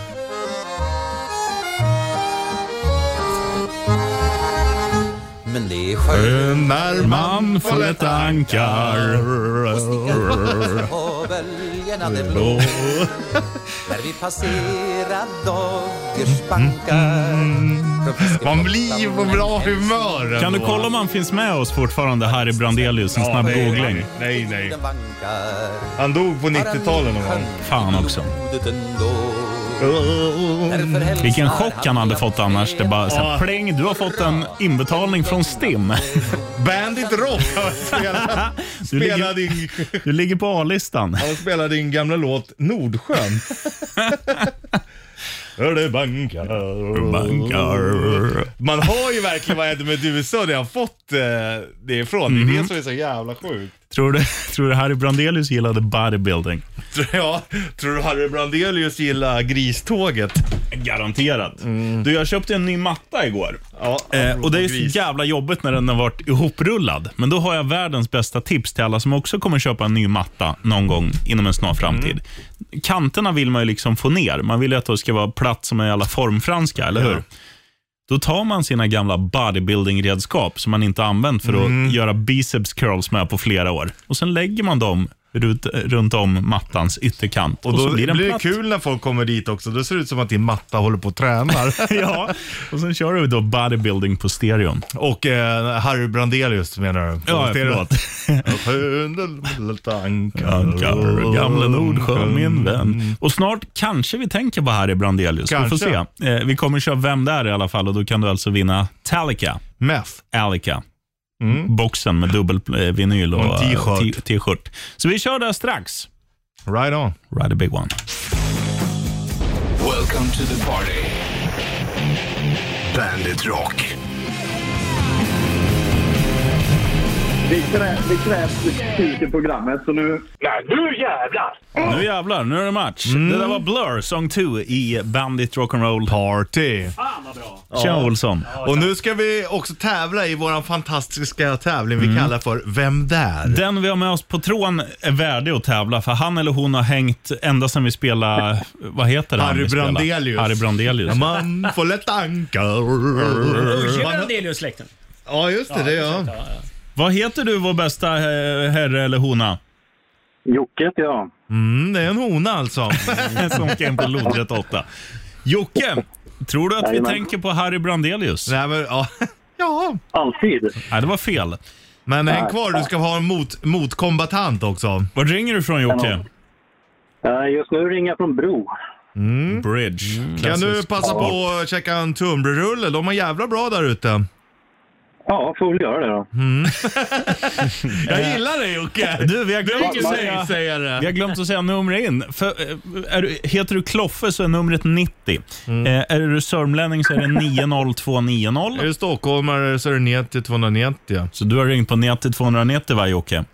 Men det är skönt När Man flöt ankar. på böljorna det blå När vi passerar Mm, daggers bankar Man blir på bra humör Kan du ändå. kolla om han finns med oss fortfarande här i Brandelius? En snabb nej, googling. Nej, nej. Den vankar Han dog på 90-talet någon gång. Fan också. Mm. Vilken chock han hade fått annars. Det bara så här, pling, du har fått en inbetalning från STIM. Bandit Rock han spelade, Du ligger, spelade, in, du ligger på A-listan. han spelade in gamla låt *laughs* Nordsjön. Hörde bankar. Man hör ju verkligen vad Eddie Meduza det har fått eh, det ifrån. Det Mm. är det som är så jävla sjukt. Tror du, tror du Harry Brandelius gillade bodybuilding? Tror- Ja, tror du Harry Brandelius gillar griståget? Garanterat. Du, jag köpte en ny matta igår. Ja, Eh, och Det är så gris. jävla jobbigt när den har varit ihoprullad. Men då har jag världens bästa tips till alla som också kommer köpa en ny matta någon gång inom en snar framtid. Kanterna vill man ju liksom få ner. Man vill ju att det ska vara platt som en jävla formfranska, eller hur? Då tar man sina gamla bodybuilding-redskap som man inte har använt för Mm. att göra biceps curls med på flera år. Och Sen lägger man dem rut, runt om mattans ytterkant. Och då så blir det platt. kul när folk kommer dit också. Då ser det ut som att din matta håller på *laughs* och tränar. *laughs* ja, och sen kör du då bodybuilding på stereon. och eh, Harry Brandelius menar du? Ja, Ser du? förlåt. Sjön, Ankar, tankar, gamle oh, Nordsjön, min vän. Och snart kanske vi tänker på Harry Brandelius. Vi får Kanske. se. Eh, vi kommer köra Vem där i alla fall och då kan du alltså vinna Talica, Meth. Alica. Boxen med dubbel eh, vinyl och, Mm. Och en t-shirt. eh, t- t-shirt. Så vi kör där strax. Right on. Ride a big one. Welcome to the party. Bandit Rock. Det krävs, det krävs lite tid i programmet, så nu... Nej, nu jävlar! Nu jävlar, nu är det match. Mm. Det där var Blur, Song 2 i Bandit Rock'n'Roll. Party. Fan vad bra! Tja Olsson. Och nu ska vi också tävla i våran fantastiska tävling vi kallar för Vem där? Den vi har med oss på tråden är värdig att tävla för han eller hon har hängt ända sedan vi spelade, vad heter han Harry vi spelade? Brandelius. Harry Brandelius. Man får lätt ankar. Man- Brandelius-släkten. Ja, just det. Det gör jag. Vad heter du vår bästa eh, herre eller hona? *laughs* Jocke heter jag. Mm, det är en hona *laughs* alltså. Som åker in på lodrätt 8. Jocke, tror du att vi Jajamän. tänker på Harry Brandelius? Nej, men, ja. ja. Alltid. Nej, det var fel. Men häng kvar. Du ska ha en mot, motkombatant också. Var ringer du från Jocke? Eh, Just nu ringer jag från Bro. Mm. Bridge. Kan Klassisk du passa sport. på att checka en tunnbrödsrulle? De har jävla bra där ute. Ja, får väl göra det då. Mm. Jag gillar dig Jocke! Du, vi har glömt att *laughs* säga... säga Vi det. har glömt att säga numret in. För, eh, är du, heter du Kloffe så är numret 90. Mm. Eh, är du sörmlänning så är det 90290. Är du stockholmare så är det 90 290. Så du har ringt på 90 290 va Jocke?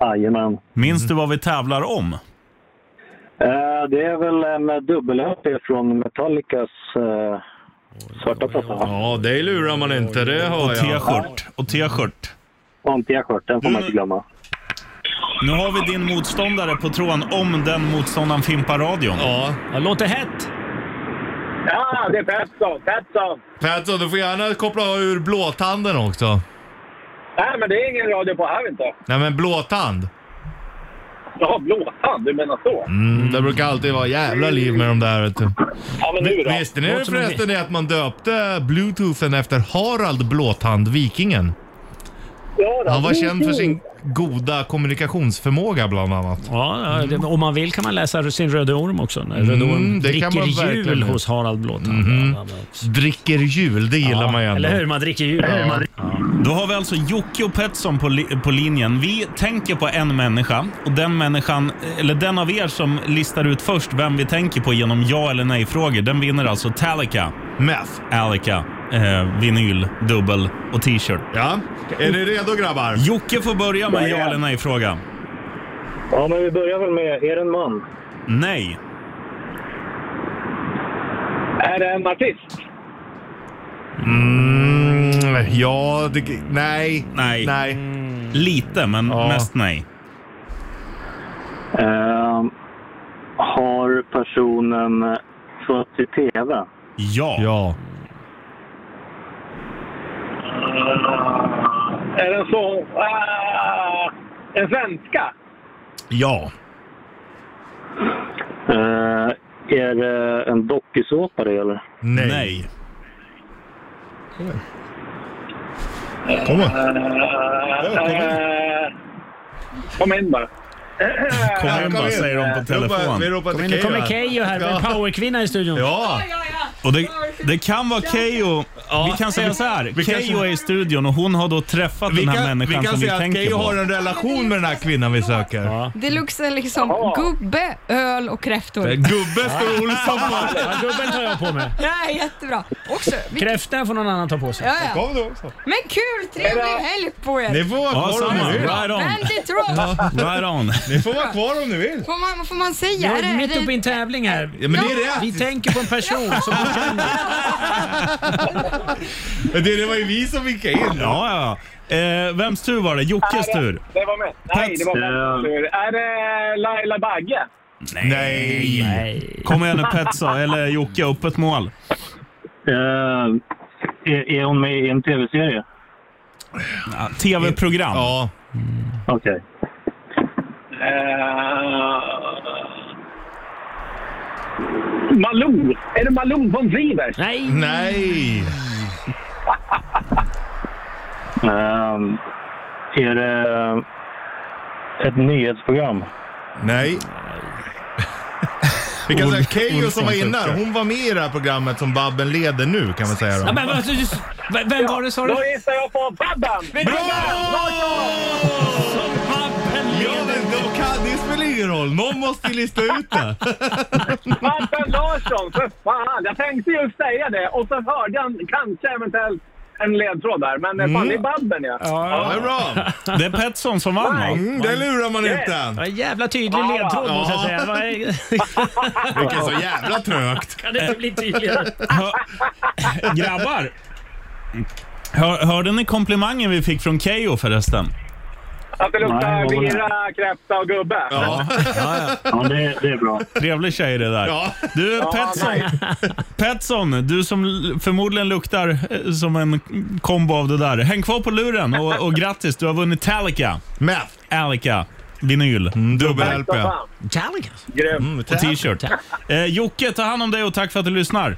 Jajamän. Minns du vad vi tävlar om? Eh, Det är väl en dubbel-EP från Metallicas eh, Svarta Passa. Ja, dig lurar man inte, det har jag. T-shirt och t-shirt. Pontiac-skjorten Mm. får man inte glömma. Nu har vi din motståndare på tråden om den motståndaren fimpar radion. Ja. Låter hett. Ja, det är Petson! Petson! Patson, du får gärna koppla ur blåtanden också. Nej, men det är ingen radio på här inte. Nej men blåtand. Jaha, blåtand, du menar så? Mm, det brukar alltid vara jävla liv med de där vet du. Ja, men nu då? Visste ni Låter som en förresten det att man döpte bluetoothen efter Harald Blåtand, vikingen? Ja, då. Han var känd för sin goda kommunikationsförmåga bland annat. Ja, ja, det, om man vill kan man läsa sin Röde Orm också. När Röde Orm Mm, det kan dricker man verkligen jul göra. hos Harald Blåtand. Ja, men- Dricker jul, det gillar man ju ändå. Eller hur? Man dricker jul. Ja. Då har vi alltså Jocke och Petson på, li- på linjen. Vi tänker på en människa och den människan, eller den av er som listar ut först vem vi tänker på genom ja eller nej-frågor, den vinner alltså Talica, Meth. Alica, eh, vinyl, dubbel och t-shirt. Ja. Är ni redo grabbar? Jocke får börja med ja eller nej-fråga. Ja, men vi börjar väl med, är det en man? Nej. Är det en artist? Mm, ja, det, nej. Nej. Nej. Lite, men Ja. mest nej. Ehm, har personen fötts i tv? Ja. Ja. Är det en sån... Ah, en svenska? Ja. Eh, är det en dokusåpa det gäller? Nej. Nej. Kom igen. Eh, kom in bara. Kom hem bara, säger de på Vi telefon. ropar Men till nu Keyyo kommer här. Keyyo här med en powerkvinna i studion. Ja. Och det, det kan vara Keyyo. Vi kan säga så här. vi kanske- Keyyo är i studion och hon har då träffat Vi den här kan, vi människan kan som vi säga att tänker Keyyo har på. en relation med den här kvinnan vi söker. Deluxe är liksom gubbe, öl och kräftor. Gubbe står Olsson på. Ja, gubben tar jag på mig. Ja, jättebra. Också. *laughs* vi- Kräftan får någon annan ta på sig. Ja, ja. Kom då också. Men kul, trevlig helg på Ni er. får Ja, vara kvar om samma. ni vill. Right on. Väldigt rock. Right on. *laughs* Ni får vara kvar om ni vill. Får man, får man säga? Jag Är det- är mitt är uppe i det- en tävling här. Ja, men det är Vi rätt. tänker på en person som vi *laughs* känner. Men Det det var ju vi som fick in. Ja, ja. Eh, vems tur var det? Jockes tur? Det var mig. Nej, det var Eh, mig. Är det Laila Bagge? Nej. Nej. Kom igen nu Petsa, eller Jocke, upp ett mål. Eh, är, är hon med i en tv-serie? Ja, Tv-program. Ja. Okej. Malou! Är det Malou von Sivers? Nej. Nej. Ehm, är det ett nyhetsprogram? Nej. Vi kan säga Keyyo som var inne här, hon var med i det här programmet som Babben leder nu kan man säga Ja, då. men, vad- vem- vem var det sa du? Då gissar jag på Babben! Bra! Ja, men de kan, det spelar ingen roll. Någon måste ju lista ut det. Babben Larsson, för fan! Jag tänkte just säga det och så hörde jag kanske eventuellt en ledtråd där, men eh, fan det är Babben ja. Ja, det är bra. Det är Petson som vann va? Mm, det lurar man inte. Ja, en jävla tydlig ledtråd måste jag säga. Vad är- *laughs* Vilket så jävla trögt. Kan det inte bli tydligare? Hör, *laughs* grabbar! Hör, hörde ni komplimangen vi fick från Keyyo förresten? Att det luktar Nej, vad var det? vira, kräfta och gubbe. Ja. Ja, det, det är bra. Trevlig tjej det där. Ja. Du Petson, Petson, du som l- förmodligen luktar eh, som en kombo av det där. Häng kvar på luren och, och grattis, du har vunnit Talica. Meth. Alica. Vinyl. Mm. Dubbel-LP. Fan, Metallicas? grymt. Mm, Och tack. t-shirt. Eh, Jocke, ta hand om dig och tack för att du lyssnar.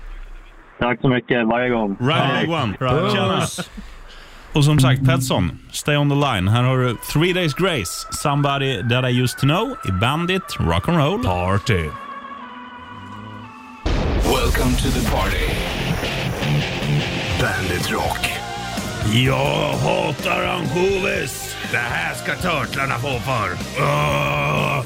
Tack så mycket varje gång. Right on. Tjena. Och som sagt, Petson, stay on the line. Här har du Three Days Grace, Somebody That I Used To Know i Bandit Rock'n'Roll. Party. Welcome to the party. Bandit Rock. Jag hatar ansjovis. Det här ska törtlarna få för. Ah.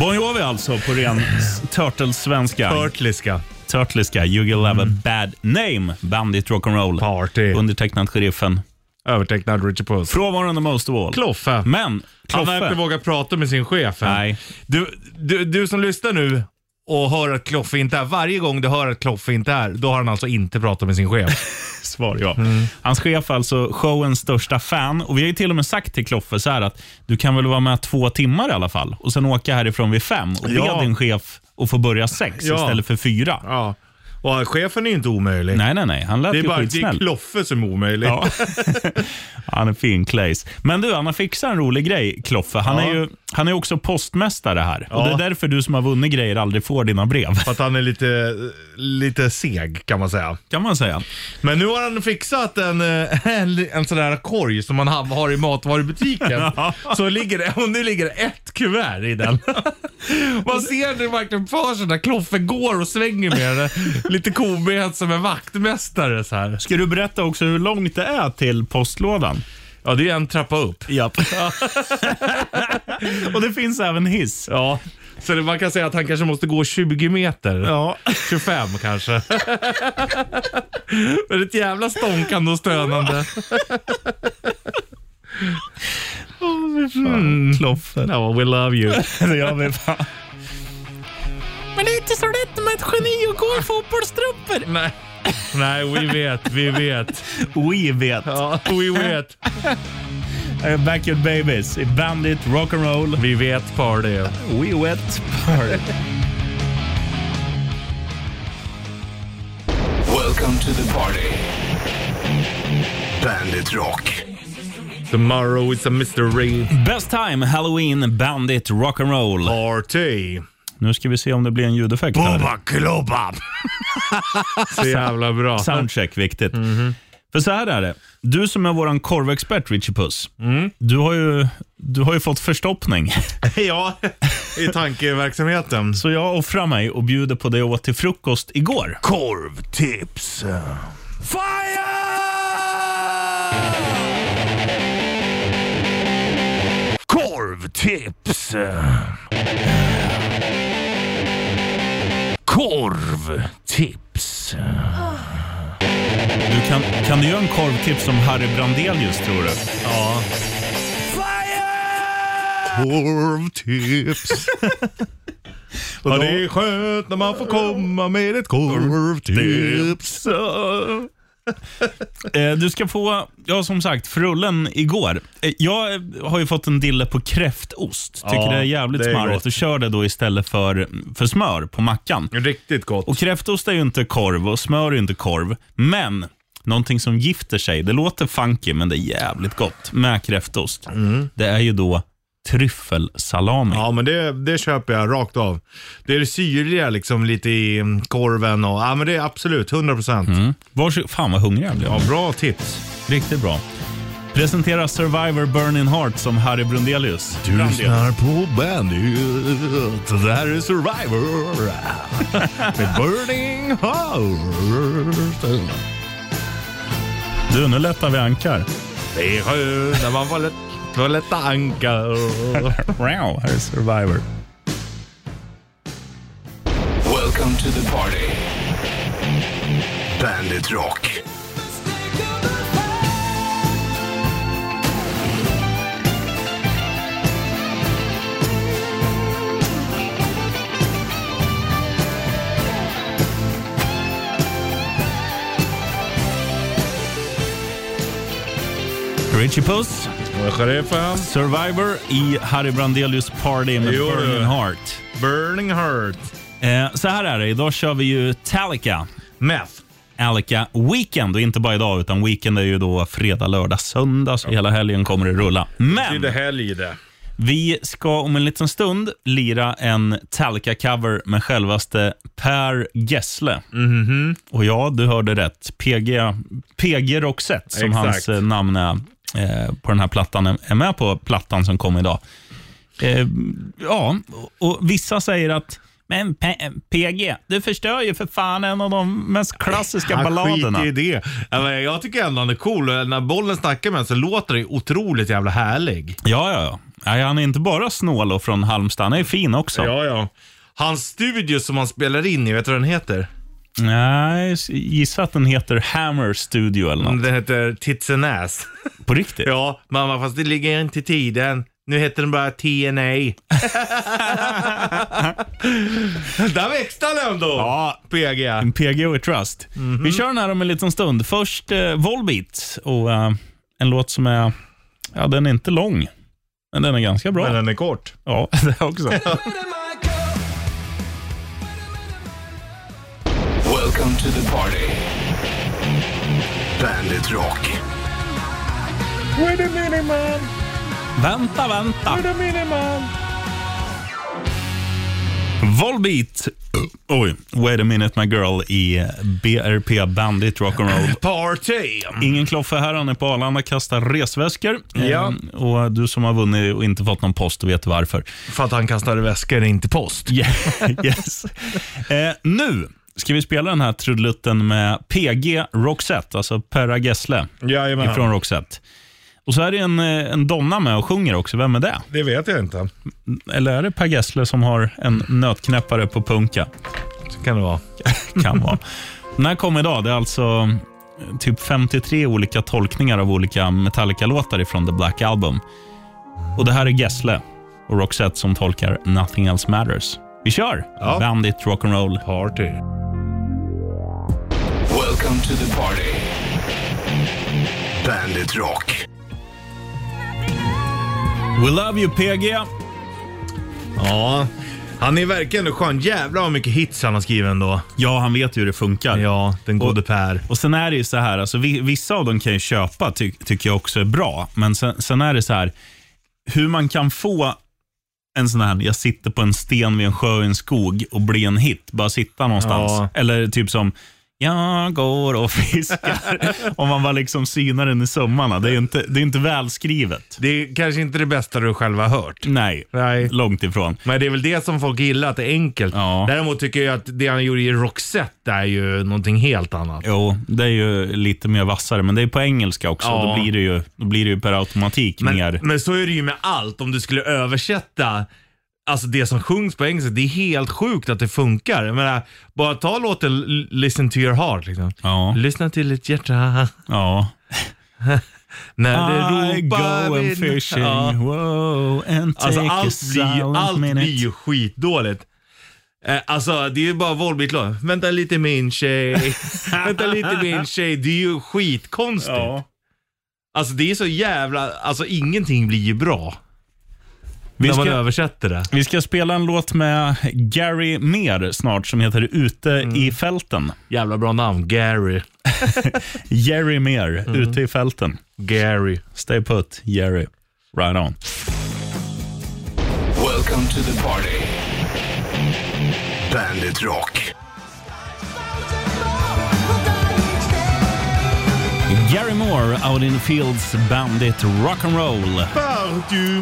Bon Jovi alltså på ren s- turtlesvenska. Törtliska. Turtleska, You Will Have A Bad Name, Bandit Rock'n'Roll. Mm. Party. Undertecknad sheriffen. Övertecknad Richard Puss. Frånvarande most of all. Kloffe. Men, Han verkar inte Kloffe. våga prata med sin chef. än. Nej. Du, du, du som lyssnar nu och hör att Kloffe inte är Varje gång du hör att Kloffe inte är, då har han alltså inte pratat med sin chef. svar ja. Mm. Mm. Hans chef är alltså showens största fan och vi har ju till och med sagt till Kloffe så här att du kan väl vara med två timmar i alla fall och sen åka härifrån vid fem och be Ja. din chef att få börja sex Ja. istället för fyra. ja. Och chefen är ju inte omöjlig. Nej, nej, nej. Han lät Det är ju bara det är skitsnäll. Kloffe som är omöjlig. Ja. *laughs* han är fin Claes. Men du, han har fixat en rolig grej, Kloffe. Han, är, ju, han är ju också postmästare här. Och Det är därför du som har vunnit grejer aldrig får dina brev, *laughs* För *laughs* att han är lite, lite seg kan man säga. kan man säga. Men nu har han fixat en, eh, en, en sån här korg som man ha- har *laughs* i matvarubutiken. Så ligger det, och nu ligger det ett kuvert i den. *laughs* Man ser det verkligen för sig när Kloffe går och svänger med det. Lite kobent som en vaktmästare så här. Ska du berätta också hur långt det är till postlådan? Ja, det är en trappa upp. *laughs* Japp. och det finns även hiss. Ja. Så det, man kan säga att han kanske måste gå 20 meter. Ja. 25 *laughs* kanske. Men ett jävla stånkande och stönande. Kloffe. No, Mm. we love you. *laughs* Det gör vi fan. inte så lätt med ett geni och går i fotbollstrumpor. Nej. Nej, vi vet, vi vet. *laughs* We vet. Ja, we vet. Eh, Backyard Babies i Bandit Rock'n'Roll. Vi vet party. We vet party. Welcome to the party. Bandit Rock. Tomorrow is a mystery. Best time, Halloween, Bandit Rock'n'Roll. Party. Nu ska vi se om det blir en ljudeffekt. här. Boba klobba. *laughs* Så jävla bra. Soundcheck, viktigt. För så här är det. Du som är vår korvexpert, Richie Puss, du, har ju, du har ju fått *laughs* förstoppning. *laughs* ja, i tankeverksamheten. Så jag offrar mig och bjuder på det jag åt till frukost igår. Korvtips. Fire! Korvtips. Korvtips. Du kan, kan du göra en korvtips som Harry Brandelius, tror du? Ja. Korvtips. Ja, det är skönt när man får komma med ett korvtips. Eh, Du ska få, ja som sagt, frullen igår. Eh, Jag har ju fått en dille på kräftost. Tycker Ja, det är jävligt det är smarrigt. gott. Och kör det då istället för, för smör på mackan. Riktigt gott. Och kräftost är ju inte korv och smör är ju inte korv. Men någonting som gifter sig, det låter funky men det är jävligt gott med kräftost. Mm. Det är ju då tryffelsalami. Ja, men det, det köper jag rakt av. Det är det syrliga liksom lite i mm, korven och, ja men det är absolut 100%. procent. Varsågod. Fan vad hungrig jag blev. Ja, bra tips. Riktigt bra. Presentera Survivor Burning Heart som Harry Brundelius. Du Brandelius. lyssnar på Bandit. Det här är Survivor. Med Burning Heart. Du, nu lättar vi ankar. Det är skönt när man får lätt, får lätta ankar. *laughs* Wow, här är Survivor. Welcome to the party. Bandit Rock. Richie Puss, Och Sheriffen, Survivor i Harry Brandelius Party med Jo, du. Burning Heart. burning heart. Eh, så här är det, idag kör vi ju Talica. Meth. Alica Weekend och inte bara idag utan Weekend är ju då fredag, lördag, söndag så hela helgen kommer det rulla. Det är Men helg det. vi ska om en liten stund lira en Talica cover med självaste Per Gessle. Mhm. Och ja, du hörde rätt. PG, PG Roxette som Exakt. hans eh, namn är eh, på den här plattan, är är med på plattan som kom idag. Eh, ja, och, och vissa säger att men P- PG, du förstör ju för fan en av de mest klassiska balladerna. skiter i det. Ja, men Jag tycker ändå han är cool. och När bollen snackar med honom så låter det otroligt jävla härlig. Ja, ja, ja. Nej, han är inte bara snål och från Halmstad, han är fin också. Ja, ja. Hans studio som han spelar in i, vet du vad den heter? Nej, gissa att den heter Hammer Studio eller något. Den heter Tits and Ass. På riktigt? Ja, mamma, fast det ligger inte i tiden. Nu heter den bara TNA. *laughs* Där växte han ändå! Ja. PG. PG och Trust. Mhm. Vi kör den här om en liten stund. Först eh, Volbeat och eh, en låt som är, ja den är inte lång, men den är ganska bra. Men den är kort. *laughs* Ja, det också. Welcome to the party. Bandit Rock. Wait a minute man, vänta, vänta. a minute man. Volbeat, oj, Wait a minute my girl i eh, BRP Bandit Rock'n'Roll. Party! Ingen kloffe här, han är på Arlanda, kastar resväskor. Ja. Ehm, Och du som har vunnit och inte fått någon post, du vet *laughs* varför. För att han kastade väskor, inte *laughs* post. yes. eh, nu ska vi spela den här trudelutten med PG Roxette, alltså Perra Gessle Jajamän. ifrån Roxette. Och så är det en, eh, en donna med och sjunger också. Vem är det? Det vet jag inte. Eller är det Per Gessle som har en nötknäppare på punka? Så kan det vara. Kan *laughs* vara. den här kom idag. Det är alltså eh, typ 53 olika tolkningar av olika Metallica-låtar ifrån The Black Album. Och det här är Gessle och Roxette som tolkar Nothing Else Matters. Vi kör! Bandit Rock'n'Roll Party. Welcome to the party. Bandit Rock. We love you PG. Ja, han är verkligen skön. Jävlar vad mycket hits han har skrivit ändå. Ja, han vet ju hur det funkar. Ja, den gode Per. Och sen är det ju så här, alltså, vi- vissa av dem kan ju köpa, ty tycker jag också är bra. Men sen, sen är det så här, hur man kan få en sån här, jag sitter på en sten vid en sjö i en skog och bli en hit. Bara sitta någonstans. Ja. Eller typ som, jag går och *laughs* fiskar. Om man bara liksom synar den i sömmarna. Det är ju inte, det är inte välskrivet. Det är kanske inte det bästa du själv har hört. Nej, Nej. långt ifrån. Men det är väl det som folk gillar, att det är enkelt. Däremot tycker jag att det han gjorde i Roxette är ju någonting helt annat. Jo, det är ju lite mer vassare, men det är på engelska också. Ja. Då, blir det ju, då blir det ju per automatik mer. Men så är det ju med allt. Om du skulle översätta alltså det som sjungs på engelska, det är helt sjukt att det funkar. Jag menar, bara ta låten L- Listen to your heart. Liksom. Lyssna till ditt hjärta. Ja. När det Ah, I ropar go and vid- fishing, Ja. whoa, and take Alltså a allt blir, ju- silent allt minute. blir ju skitdåligt. Eh, alltså det är ju bara Volbeat-låt. Vänta lite *laughs* min tjej. Vänta lite min tjej. Det är ju skitkonstigt. Alltså det är så jävla, alltså ingenting blir ju bra. Vi när man ska- översätter det. Vi ska spela en låt med Gary Mer snart som heter Ute i fälten. Jävla bra namn, Gary. Jerry Mer, Ute i fälten. Gary. Stay put, Jerry. Right on. Welcome to the party. Bandit Rock. Gary Moore, Out in the Fields, Bandit Rock'n'Roll.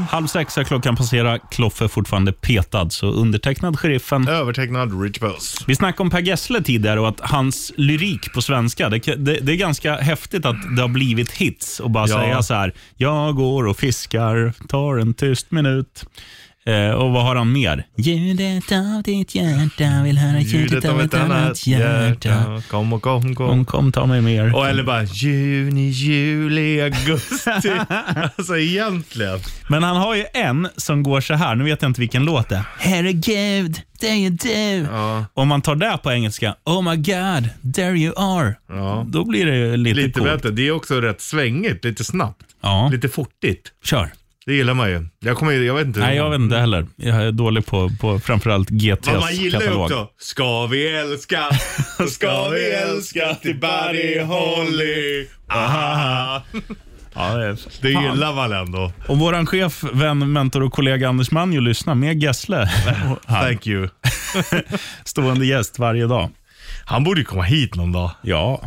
Halv sex är klockan passerar. Kloffe är fortfarande petad, så undertecknad sheriffen. Övertecknad Rich Puss. Vi snackade om Per Gessle tidigare och att hans lyrik på svenska, det, det, det är ganska häftigt att det har blivit hits och bara Ja. säga så här, jag går och fiskar, tar en tyst minut. Eh, och vad har han mer? Ljudet av ditt hjärta vill höra ljudet av ett annat hjärta. Mm. Kom och kom, kom. Kom, kom, ta mig mer. Och eller bara juni, juli, augusti. *laughs* alltså egentligen. Men han har ju en som går så här, nu vet jag inte vilken låt det är. Herregud, det är ju du. Om man tar det på engelska, oh my god, there you are. Då blir det ju lite, Lite coolt. bättre. Det är också rätt svängigt, lite snabbt. Ja. Lite fortigt. Kör. Det gillar man ju. Jag kommer ju- jag vet inte. Nej, jag vet inte heller. Jag är dålig på, på framförallt GTs Vad man gillar ju katalog. också. Ska vi älska, då ska vi älska till varje holly. Ah. Aha. Ja, det, är... Det Fan. gillar man ändå. Och våran chef, vän, mentor och kollega Anders Manjo lyssnar med Gessle. *laughs* Thank you. Stående gäst varje dag. Han borde ju komma hit någon dag. Ja.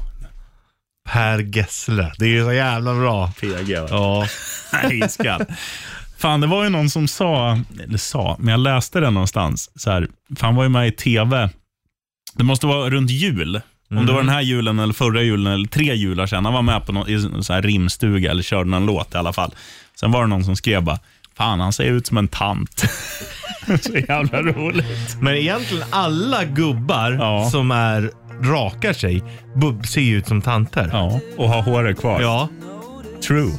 Per Gessle. Det är ju så jävla bra. PG va? Ja. *laughs* Nej, skall. Fan, det var ju någon som sa, eller sa, men jag läste det någonstans. Så här, för han var ju med i tv. Det måste vara runt jul. Om Mm. det var den här julen eller förra julen eller tre jular sedan. Han var med på någon, i en så här rimstuga eller körde någon låt i alla fall. Sen var det någon som skrev bara, fan han ser ut som en tant. så jävla roligt. Men egentligen alla gubbar som är rakar sig bub- ser ju ut som tanter. Ja, *laughs* och har håret kvar. Ja. True.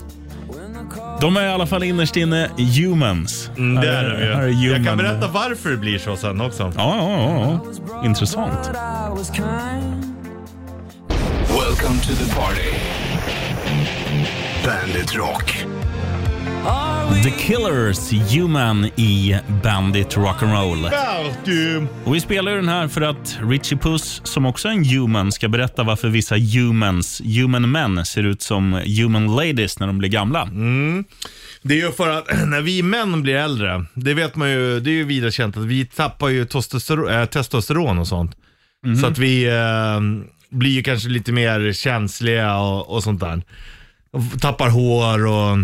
De är i alla fall innerst inne humans. Mm, det är de Här ju. Jag kan human- berätta varför det blir så sen också. Ja, ja, ja. Intressant. Welcome to the party. Bandit Rock. The Killers, Human i Bandit Rock'n'Roll. Bertum! Och vi spelar ju den här för att Richie Puss, som också är en human, ska berätta varför vissa humans, human män, ser ut som human ladies när de blir gamla. Mm. Det är ju för att *clears throat* när vi män blir äldre, det vet man ju, det är ju vidare känt att vi tappar ju testosteron, eh, testosteron och sånt. Så att vi eh, blir ju kanske lite mer känsliga och, och sånt där. Och Tappar hår och,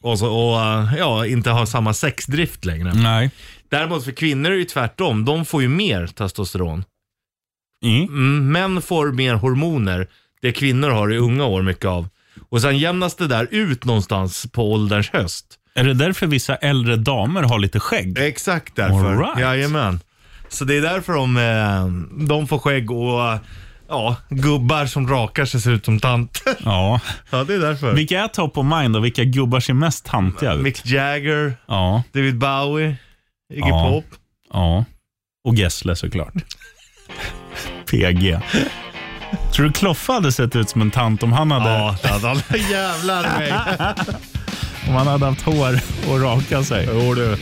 och, så, och eh, ja, inte har samma sexdrift längre. Nej. Däremot för kvinnor är det ju tvärtom, de får ju mer testosteron. Mm. Mm, män får mer hormoner, det kvinnor har i unga år mycket av. Och sen jämnas det där ut någonstans på ålderns höst. Är det därför vissa äldre damer har lite skägg? Eh. Exakt därför. All right. Jajamän. Så det är därför de, eh, de får skägg och eh, ja, gubbar som rakar sig ser ut som tanter. Ja. Ja, det är därför. Vilka är top of mind och vilka gubbar ser mest tantiga ut? Mick Jagger, Ja, David Bowie, Iggy Ja. Pop. *laughs* ja. Och Gessle såklart. PG. Tror du Kloffe hade sett ut som en tant om han hade... Ja, det hade han. Jävlar mig. om han hade haft hår och rakat sig. Jo du.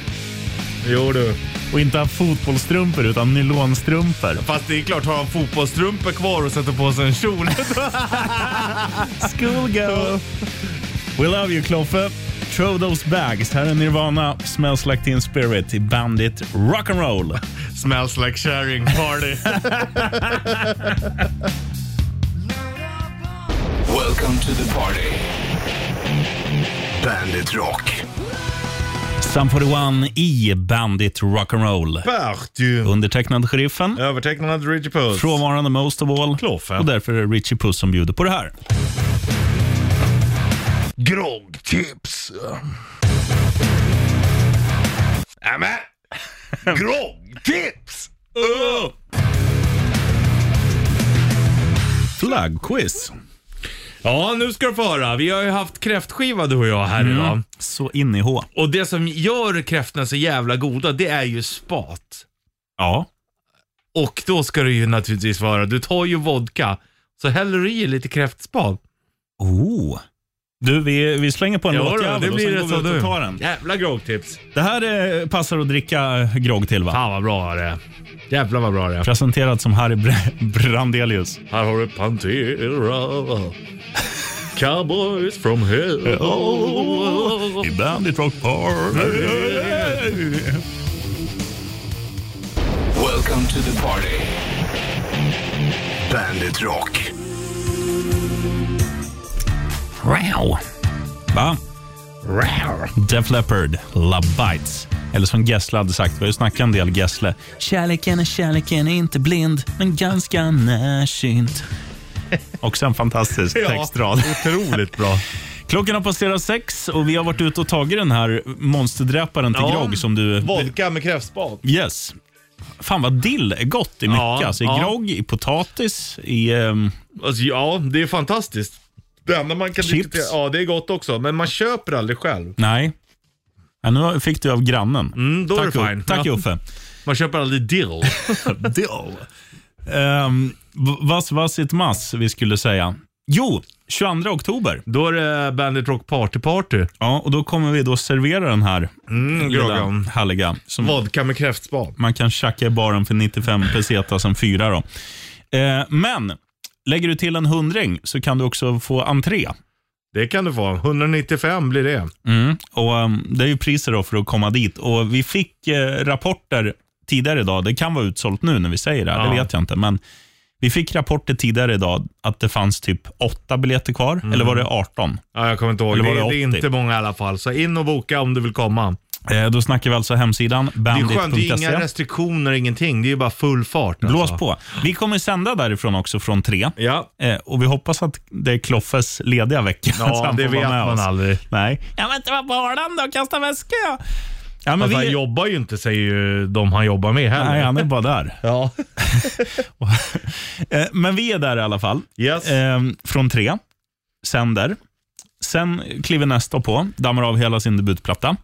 Jo du. Och inte haft fotbollsstrumpor utan nylonstrumpor. Fast det är klart, har han fotbollsstrumpor kvar och sätter på sig en kjol. *laughs* Schoolgirl. We love you Kloffe. Throw those bags. Här är Nirvana, Smells like teen spirit i Bandit Rock'n'Roll. Smells like *laughs* sharing party. Welcome to the party. Bandit Rock. Sam 41 i Bandit Rock'n'Roll. Undertecknad Sheriffen. Övertecknad Richie Puss. Frånvarande Most of All. Kloffe. Och därför är det Richie Puss som bjuder på det här. Groggtips. Äh, Nämen! Groggtips! Uh. Flaggquiz. Ja, nu ska du få höra. Vi har ju haft kräftskiva du och jag här idag. Så in i H. Och det som gör kräftorna så jävla goda, det är ju spat. Ja. Och då ska det ju naturligtvis vara, du tar ju vodka, så häller du i lite kräftspat. Oh. Du, vi, vi slänger på en Ja, då, låtjävel det och blir sen det går vi så ut du. och tar den. Jävla groggtips. Det här eh, passar att dricka grogg till va? Fan vad bra det är. Jävlar vad bra det är. Presenterad som Harry Br- *laughs* Brandelius. Här har du Pantera. Cowboys from hell. Oh. I Bandit Rock Party. Welcome to the party. Bandit Rock. Wow. Va? Wow. Def Leppard, Love Bites. Eller som Gessle hade sagt, vi har ju snackat en del Gessle. Kärleken är kärleken, är inte blind, men ganska närsynt. Också en *laughs* fantastisk textrad. Otroligt bra. Klockan har passerat sex och vi har varit ute och tagit den här monsterdräparen till Ja, grogg som du... Vodka med kräftspat. Yes. Fan vad dill är gott i mycket. Ja, alltså, I ja. grogg, i potatis, i... ehm, Alltså, ja, det är fantastiskt. Det enda man kan Chips. diskutera, ja det är gott också, men man köper aldrig själv. nej. Ja, nu fick du av grannen. Mm, då är Tack, det Uffe. fine. Tack Ja. Uffe. Man köper aldrig *laughs* dill. Dill. Um, was was it mass vi skulle säga. Jo, 22 oktober. då är det Bandit Rock Party Party. Ja, och då kommer vi då servera den här Mm, lilla groggen. härliga som Vodka med kräftspat. man kan tjacka i baren för 95 pesetas som fyra. Då. Eh, men lägger du till en hundring så kan du också få entré. Det kan du få. 195 blir det. Mm. Och, ehm, det är ju priser då för att komma dit. Och Vi fick eh, rapporter tidigare idag, det kan vara utsålt nu när vi säger det, här, det Ja. vet jag inte. Men vi fick rapporter tidigare idag att det fanns typ åtta biljetter kvar, eller var det 18? Ja, jag kommer inte ihåg. Eller Det, var det det är 80? inte många i alla fall. Så in och boka om du vill komma. Eh, då snackar vi alltså hemsidan Det är skönt, det är inga bandit.se. restriktioner, ingenting. Det är ju bara full fart. E. Blås alltså. på. Vi kommer sända därifrån också från tre. Ja. Eh, och vi hoppas att det är Kloffes lediga vecka. *laughs* så Ja, han det får vara vet med man oss. aldrig. Nej. Jag vill inte vara på Arlanda då kasta väska. Ja, men Fast han vi... jobbar ju inte, säger ju de han jobbar med heller. Nej, han är bara där. Ja. Eh, Men vi är där i alla fall. Yes. Eh, Från tre. Sänder. Sen kliver nästa på, dammar av hela sin debutplatta.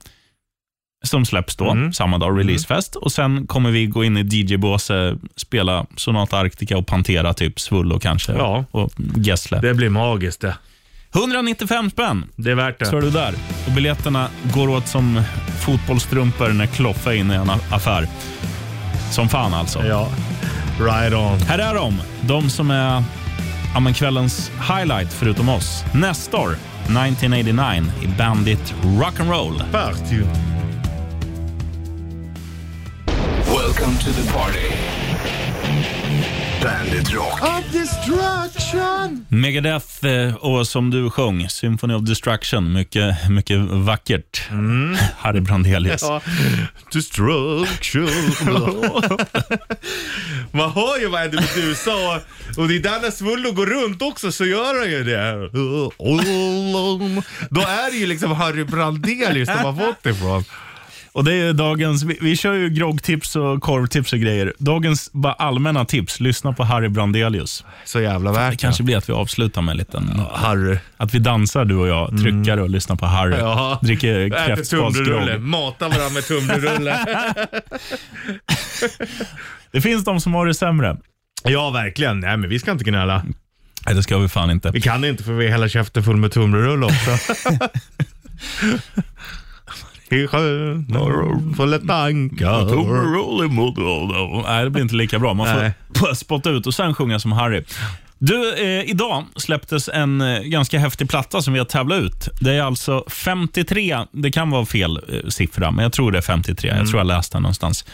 Som släpps då, Mm. samma dag, releasefest. Och sen kommer vi gå in i DJ-båse, spela Sonata Arctica och Pantera, typ Svullo kanske. Ja. Och Gessle. Det blir magiskt det. 195 spänn Det är värt så är det. du där. Och biljetterna går åt som fotbollsstrumpor när Kloffe är inne i en a- affär. Som fan alltså. Ja. Right on. Här är de, de som är ja, men kvällens highlight förutom oss. Nestor, 1989 i Bandit Rock'n'Roll. Party. Welcome to the party. Bandit Rock. Megadeth eh, och som du sjöng, Symphony of Destruction. Mycket, mycket vackert. *laughs* Harry Brandelius. Mm. Ja. Destruction. Man hör ju vad Eddie Meduza och, och det är där när Svullo går runt också så gör han ju det. Då är det ju liksom Harry Brandelius de har fått det ifrån. Och det är dagens, vi, vi kör ju groggtips och korvtips och grejer. Dagens bara allmänna tips, lyssna på Harry Brandelius. Så jävla värt. Det kanske blir att vi avslutar med en liten... Harry. Att vi dansar du och jag, tryckare och lyssnar på Harry. Mm. Ja. Dricker Äter tumlerulle. kräftskvalsgrogg. Matar varandra med tumlerulle. Det finns de som har det sämre. Ja, verkligen. Nej, men vi ska inte gnälla. Nej, det ska vi fan inte. Vi kan inte för vi är hela käften full med tumlerulle *laughs* också. I sjön fulla tankar. Tumlerulle mot honom. Nej, det blir inte lika bra. Man Nej. får bara spotta ut och sen sjunga som Harry. Du, eh, idag släpptes en eh, ganska häftig platta som vi har tävlat ut. Det är alltså 53, det kan vara fel eh, siffra, men jag tror det är 53. Jag tror jag läste den någonstans.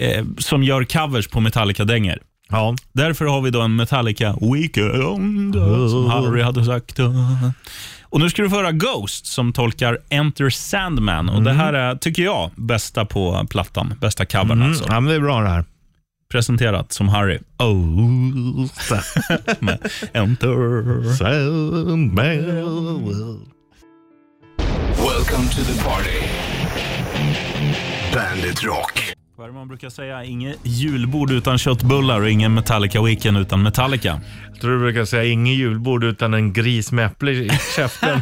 Eh, som gör covers på Metallica-dängor. Ja. Därför har vi då en Metallica Weekend, som Harry hade sagt. Och nu ska du få höra Ghost som tolkar Enter Sandman. Och Det här är, tycker jag, bästa på plattan. Bästa covern alltså. Ja, men det är bra det här. Presenterat som Harry. Oh, med Enter. Welcome to the party. Bandit Rock. Vad är det man brukar säga? Inget julbord utan köttbullar och ingen Metallica Weekend utan Metallica. Jag tror du brukar säga ingen julbord utan en gris med äpple i *laughs* käften.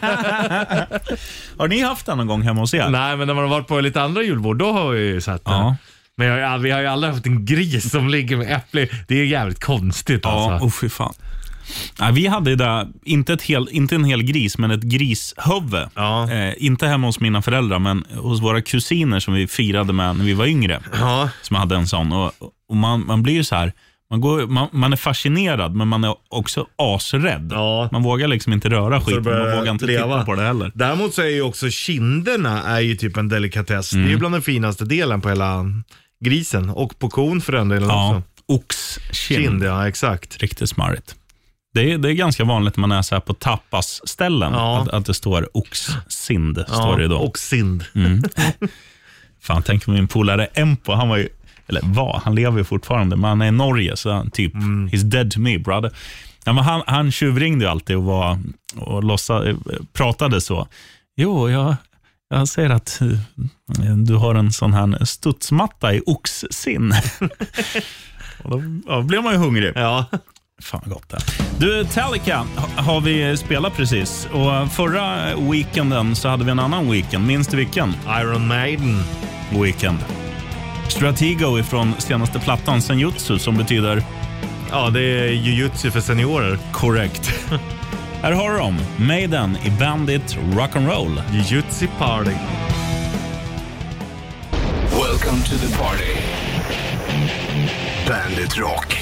Har ni haft den någon gång hemma hos er? Nej, men när man har varit på lite andra julbord, då har vi ju satt den. Ja. Men jag, har ju ald- vi har ju aldrig haft en gris som ligger med äpple. Det är jävligt konstigt Ja, alltså. oh, fy fan. Nej, vi hade ju där, inte, ett hel, inte en hel gris, men ett grishuvud. Eh, inte hemma hos mina föräldrar, men hos våra kusiner som vi firade med när vi var yngre. Ja. Som hade en sån. Och, och man, man blir ju så här, man, går, man, man är fascinerad, men man är också asrädd. Man vågar liksom inte röra skiten, man vågar inte titta på det heller. Däremot så är ju också kinderna är ju typ en delikatess. Mm. Det är ju bland den finaste delen på hela grisen och på kon för den delen Ja, också. oxkind. Kind, ja exakt. Riktigt smarrigt. Det är, det är ganska vanligt när man är så här på tapasställen Ja. att, att det står oxsind. står det då. och sind. Mm. Fan, tänk om min polare Empo, han var ju, eller var, han lever ju fortfarande, men han är i Norge, så han typ, he's dead to me brother. Ja, men han, han tjuvringde ju alltid och, var, och låtsa, eh, pratade så. Jo, jag, jag ser att eh, du har en sån här studsmatta i oxsinn. *laughs* och då ja, då blev man ju hungrig. Ja. Fan vad gott det här. Du, Metallica ha- har vi spelat precis. Och förra weekenden så hade vi en annan weekend. Minns du vilken? Iron Maiden. Weekend. Stratego ifrån senaste plattan Senjutsu som betyder Ja, det är jujutsu för seniorer. korrekt. *laughs* Här har du dem. Maiden i Bandit Rock'n'Roll. Jujutsu party. Welcome to the party. Bandit Rock.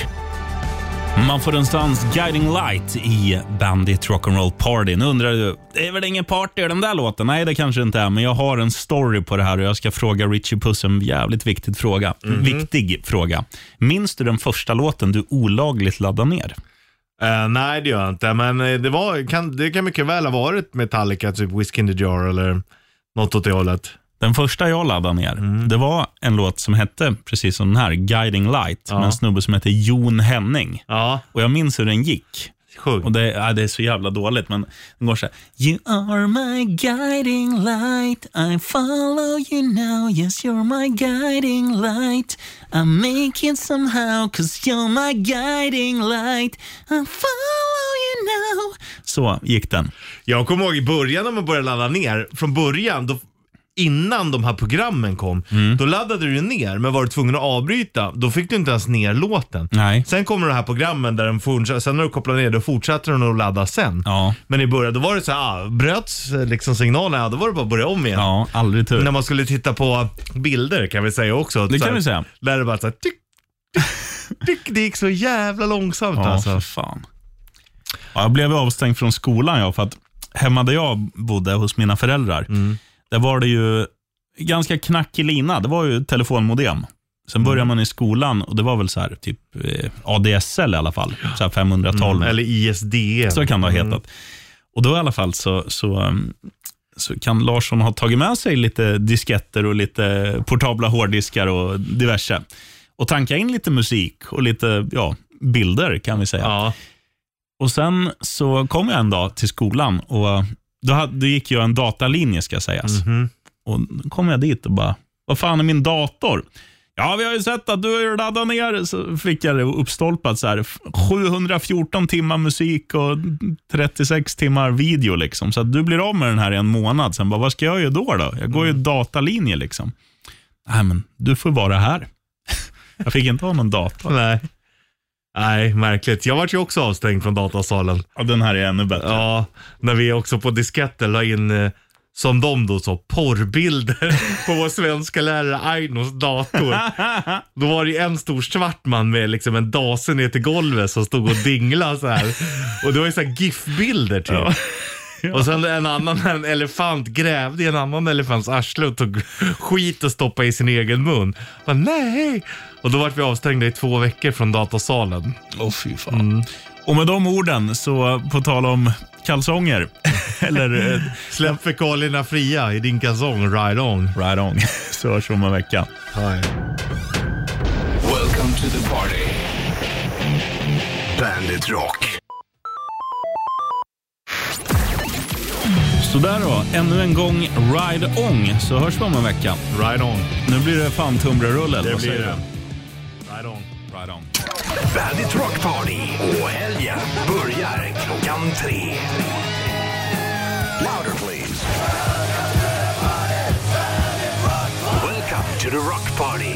Man får en stans Guiding Light i Bandit Rock'n'Roll Party. Nu undrar du, det är väl ingen party i den där låten? Nej, det kanske inte är, men jag har en story på det här och jag ska fråga Richie Puss en jävligt viktig fråga. Viktig fråga. Minns du den första låten du olagligt laddade ner? Eh, nej, det gör jag inte. Men eh, det, var, kan, det kan mycket väl ha varit Metallica, typ Whiskey in the Jar eller något åt det hållet. Den första jag laddade ner, det var en låt som hette, precis som den här, Guiding Light, med en snubbe som hette Jon Henning. Ja, Och jag minns hur den gick. sjukt. Och det, ja, det är så jävla dåligt, men den går så här. You are my guiding light I follow you now Yes, you're my guiding light I make it somehow Cause you're my guiding light I follow you now Så gick den. Jag kommer ihåg i början när man började ladda ner, från början, då, innan de här programmen kom, Mm. då laddade du ner men var du tvungen att avbryta, då fick du inte ens ner låten. Nej. Sen kommer de här programmen där den fortsätter, sen när du kopplar ner då fortsätter den att ladda sen. Ja. Men i början då var det så här, ah, bröts eh, liksom signalen, ja, då var det bara att börja om igen. Ja, aldrig tur. När man skulle titta på bilder kan vi säga också. Det Så kan här, vi säga. Där det bara så här, tyck, tyck, tyck, det gick så jävla långsamt Ja, alltså. för fan. Ja, jag blev avstängd från skolan jag, för att hemma där jag bodde hos mina föräldrar, Mm. där var det ju ganska knackig lina. Det var ju telefonmodem. Sen Mm. började man i skolan och det var väl så här, typ eh, ADSL i alla fall, så här 512. Mm, Eller ISDN. Så kan det ha hetat. Och då i alla fall så, så, um, så kan Larsson ha tagit med sig lite disketter och lite portabla hårddiskar och diverse. Och tanka in lite musik och lite ja, bilder kan vi säga. Ja. Och sen så kom jag en dag till skolan uh, och då, hade, då gick jag en datalinje ska sägas. Och då kom jag dit och bara, Vad fan är min dator? Ja, vi har ju sett att du har ju laddat ner, så fick jag det uppstolpat så här. 714 timmar musik och 36 timmar video liksom. Så att du blir av med den här i en månad. Sen bara, vad ska jag göra då? då? Jag går ju datalinje liksom. Nej, men du får vara här. *laughs* jag fick inte ha någon dator. Nej. Nej, märkligt. Jag vart ju också avstängd från datasalen. Ja, den här är ännu bättre. Ja, när vi också på disketter la in, eh, som de då sa, porrbilder *laughs* på vår svenska lärare Ainos dator. Då var det ju en stor svart man med liksom en dase ner till golvet som stod och dinglade så här. Och det var ju så här GIF-bilder typ. *laughs* Och sen en annan, en elefant grävde i en annan elefants arsle och tog skit och stoppade i sin egen mun. Bara, nej! Och då vart vi avstängda i två veckor från datasalen. Åh oh, fy fan. Och med de orden, så på tal om kalsonger. *laughs* Eller, eh, Släpp fekalierna fria i din kalsong, ride on. Ride on. *laughs* Så hörs vi om en vecka. Welcome to the party. Bandit Rock. Sådär då, ännu en gång Ride On, så hörs vi om en vecka. Ride on. Nu blir det fan tunnbrödsrulle, eller Det vad blir säger det. du? Ride on. Ride on. Bandit Rock Party och helgen börjar klockan tre. Louder please. Welcome to the Rock Party.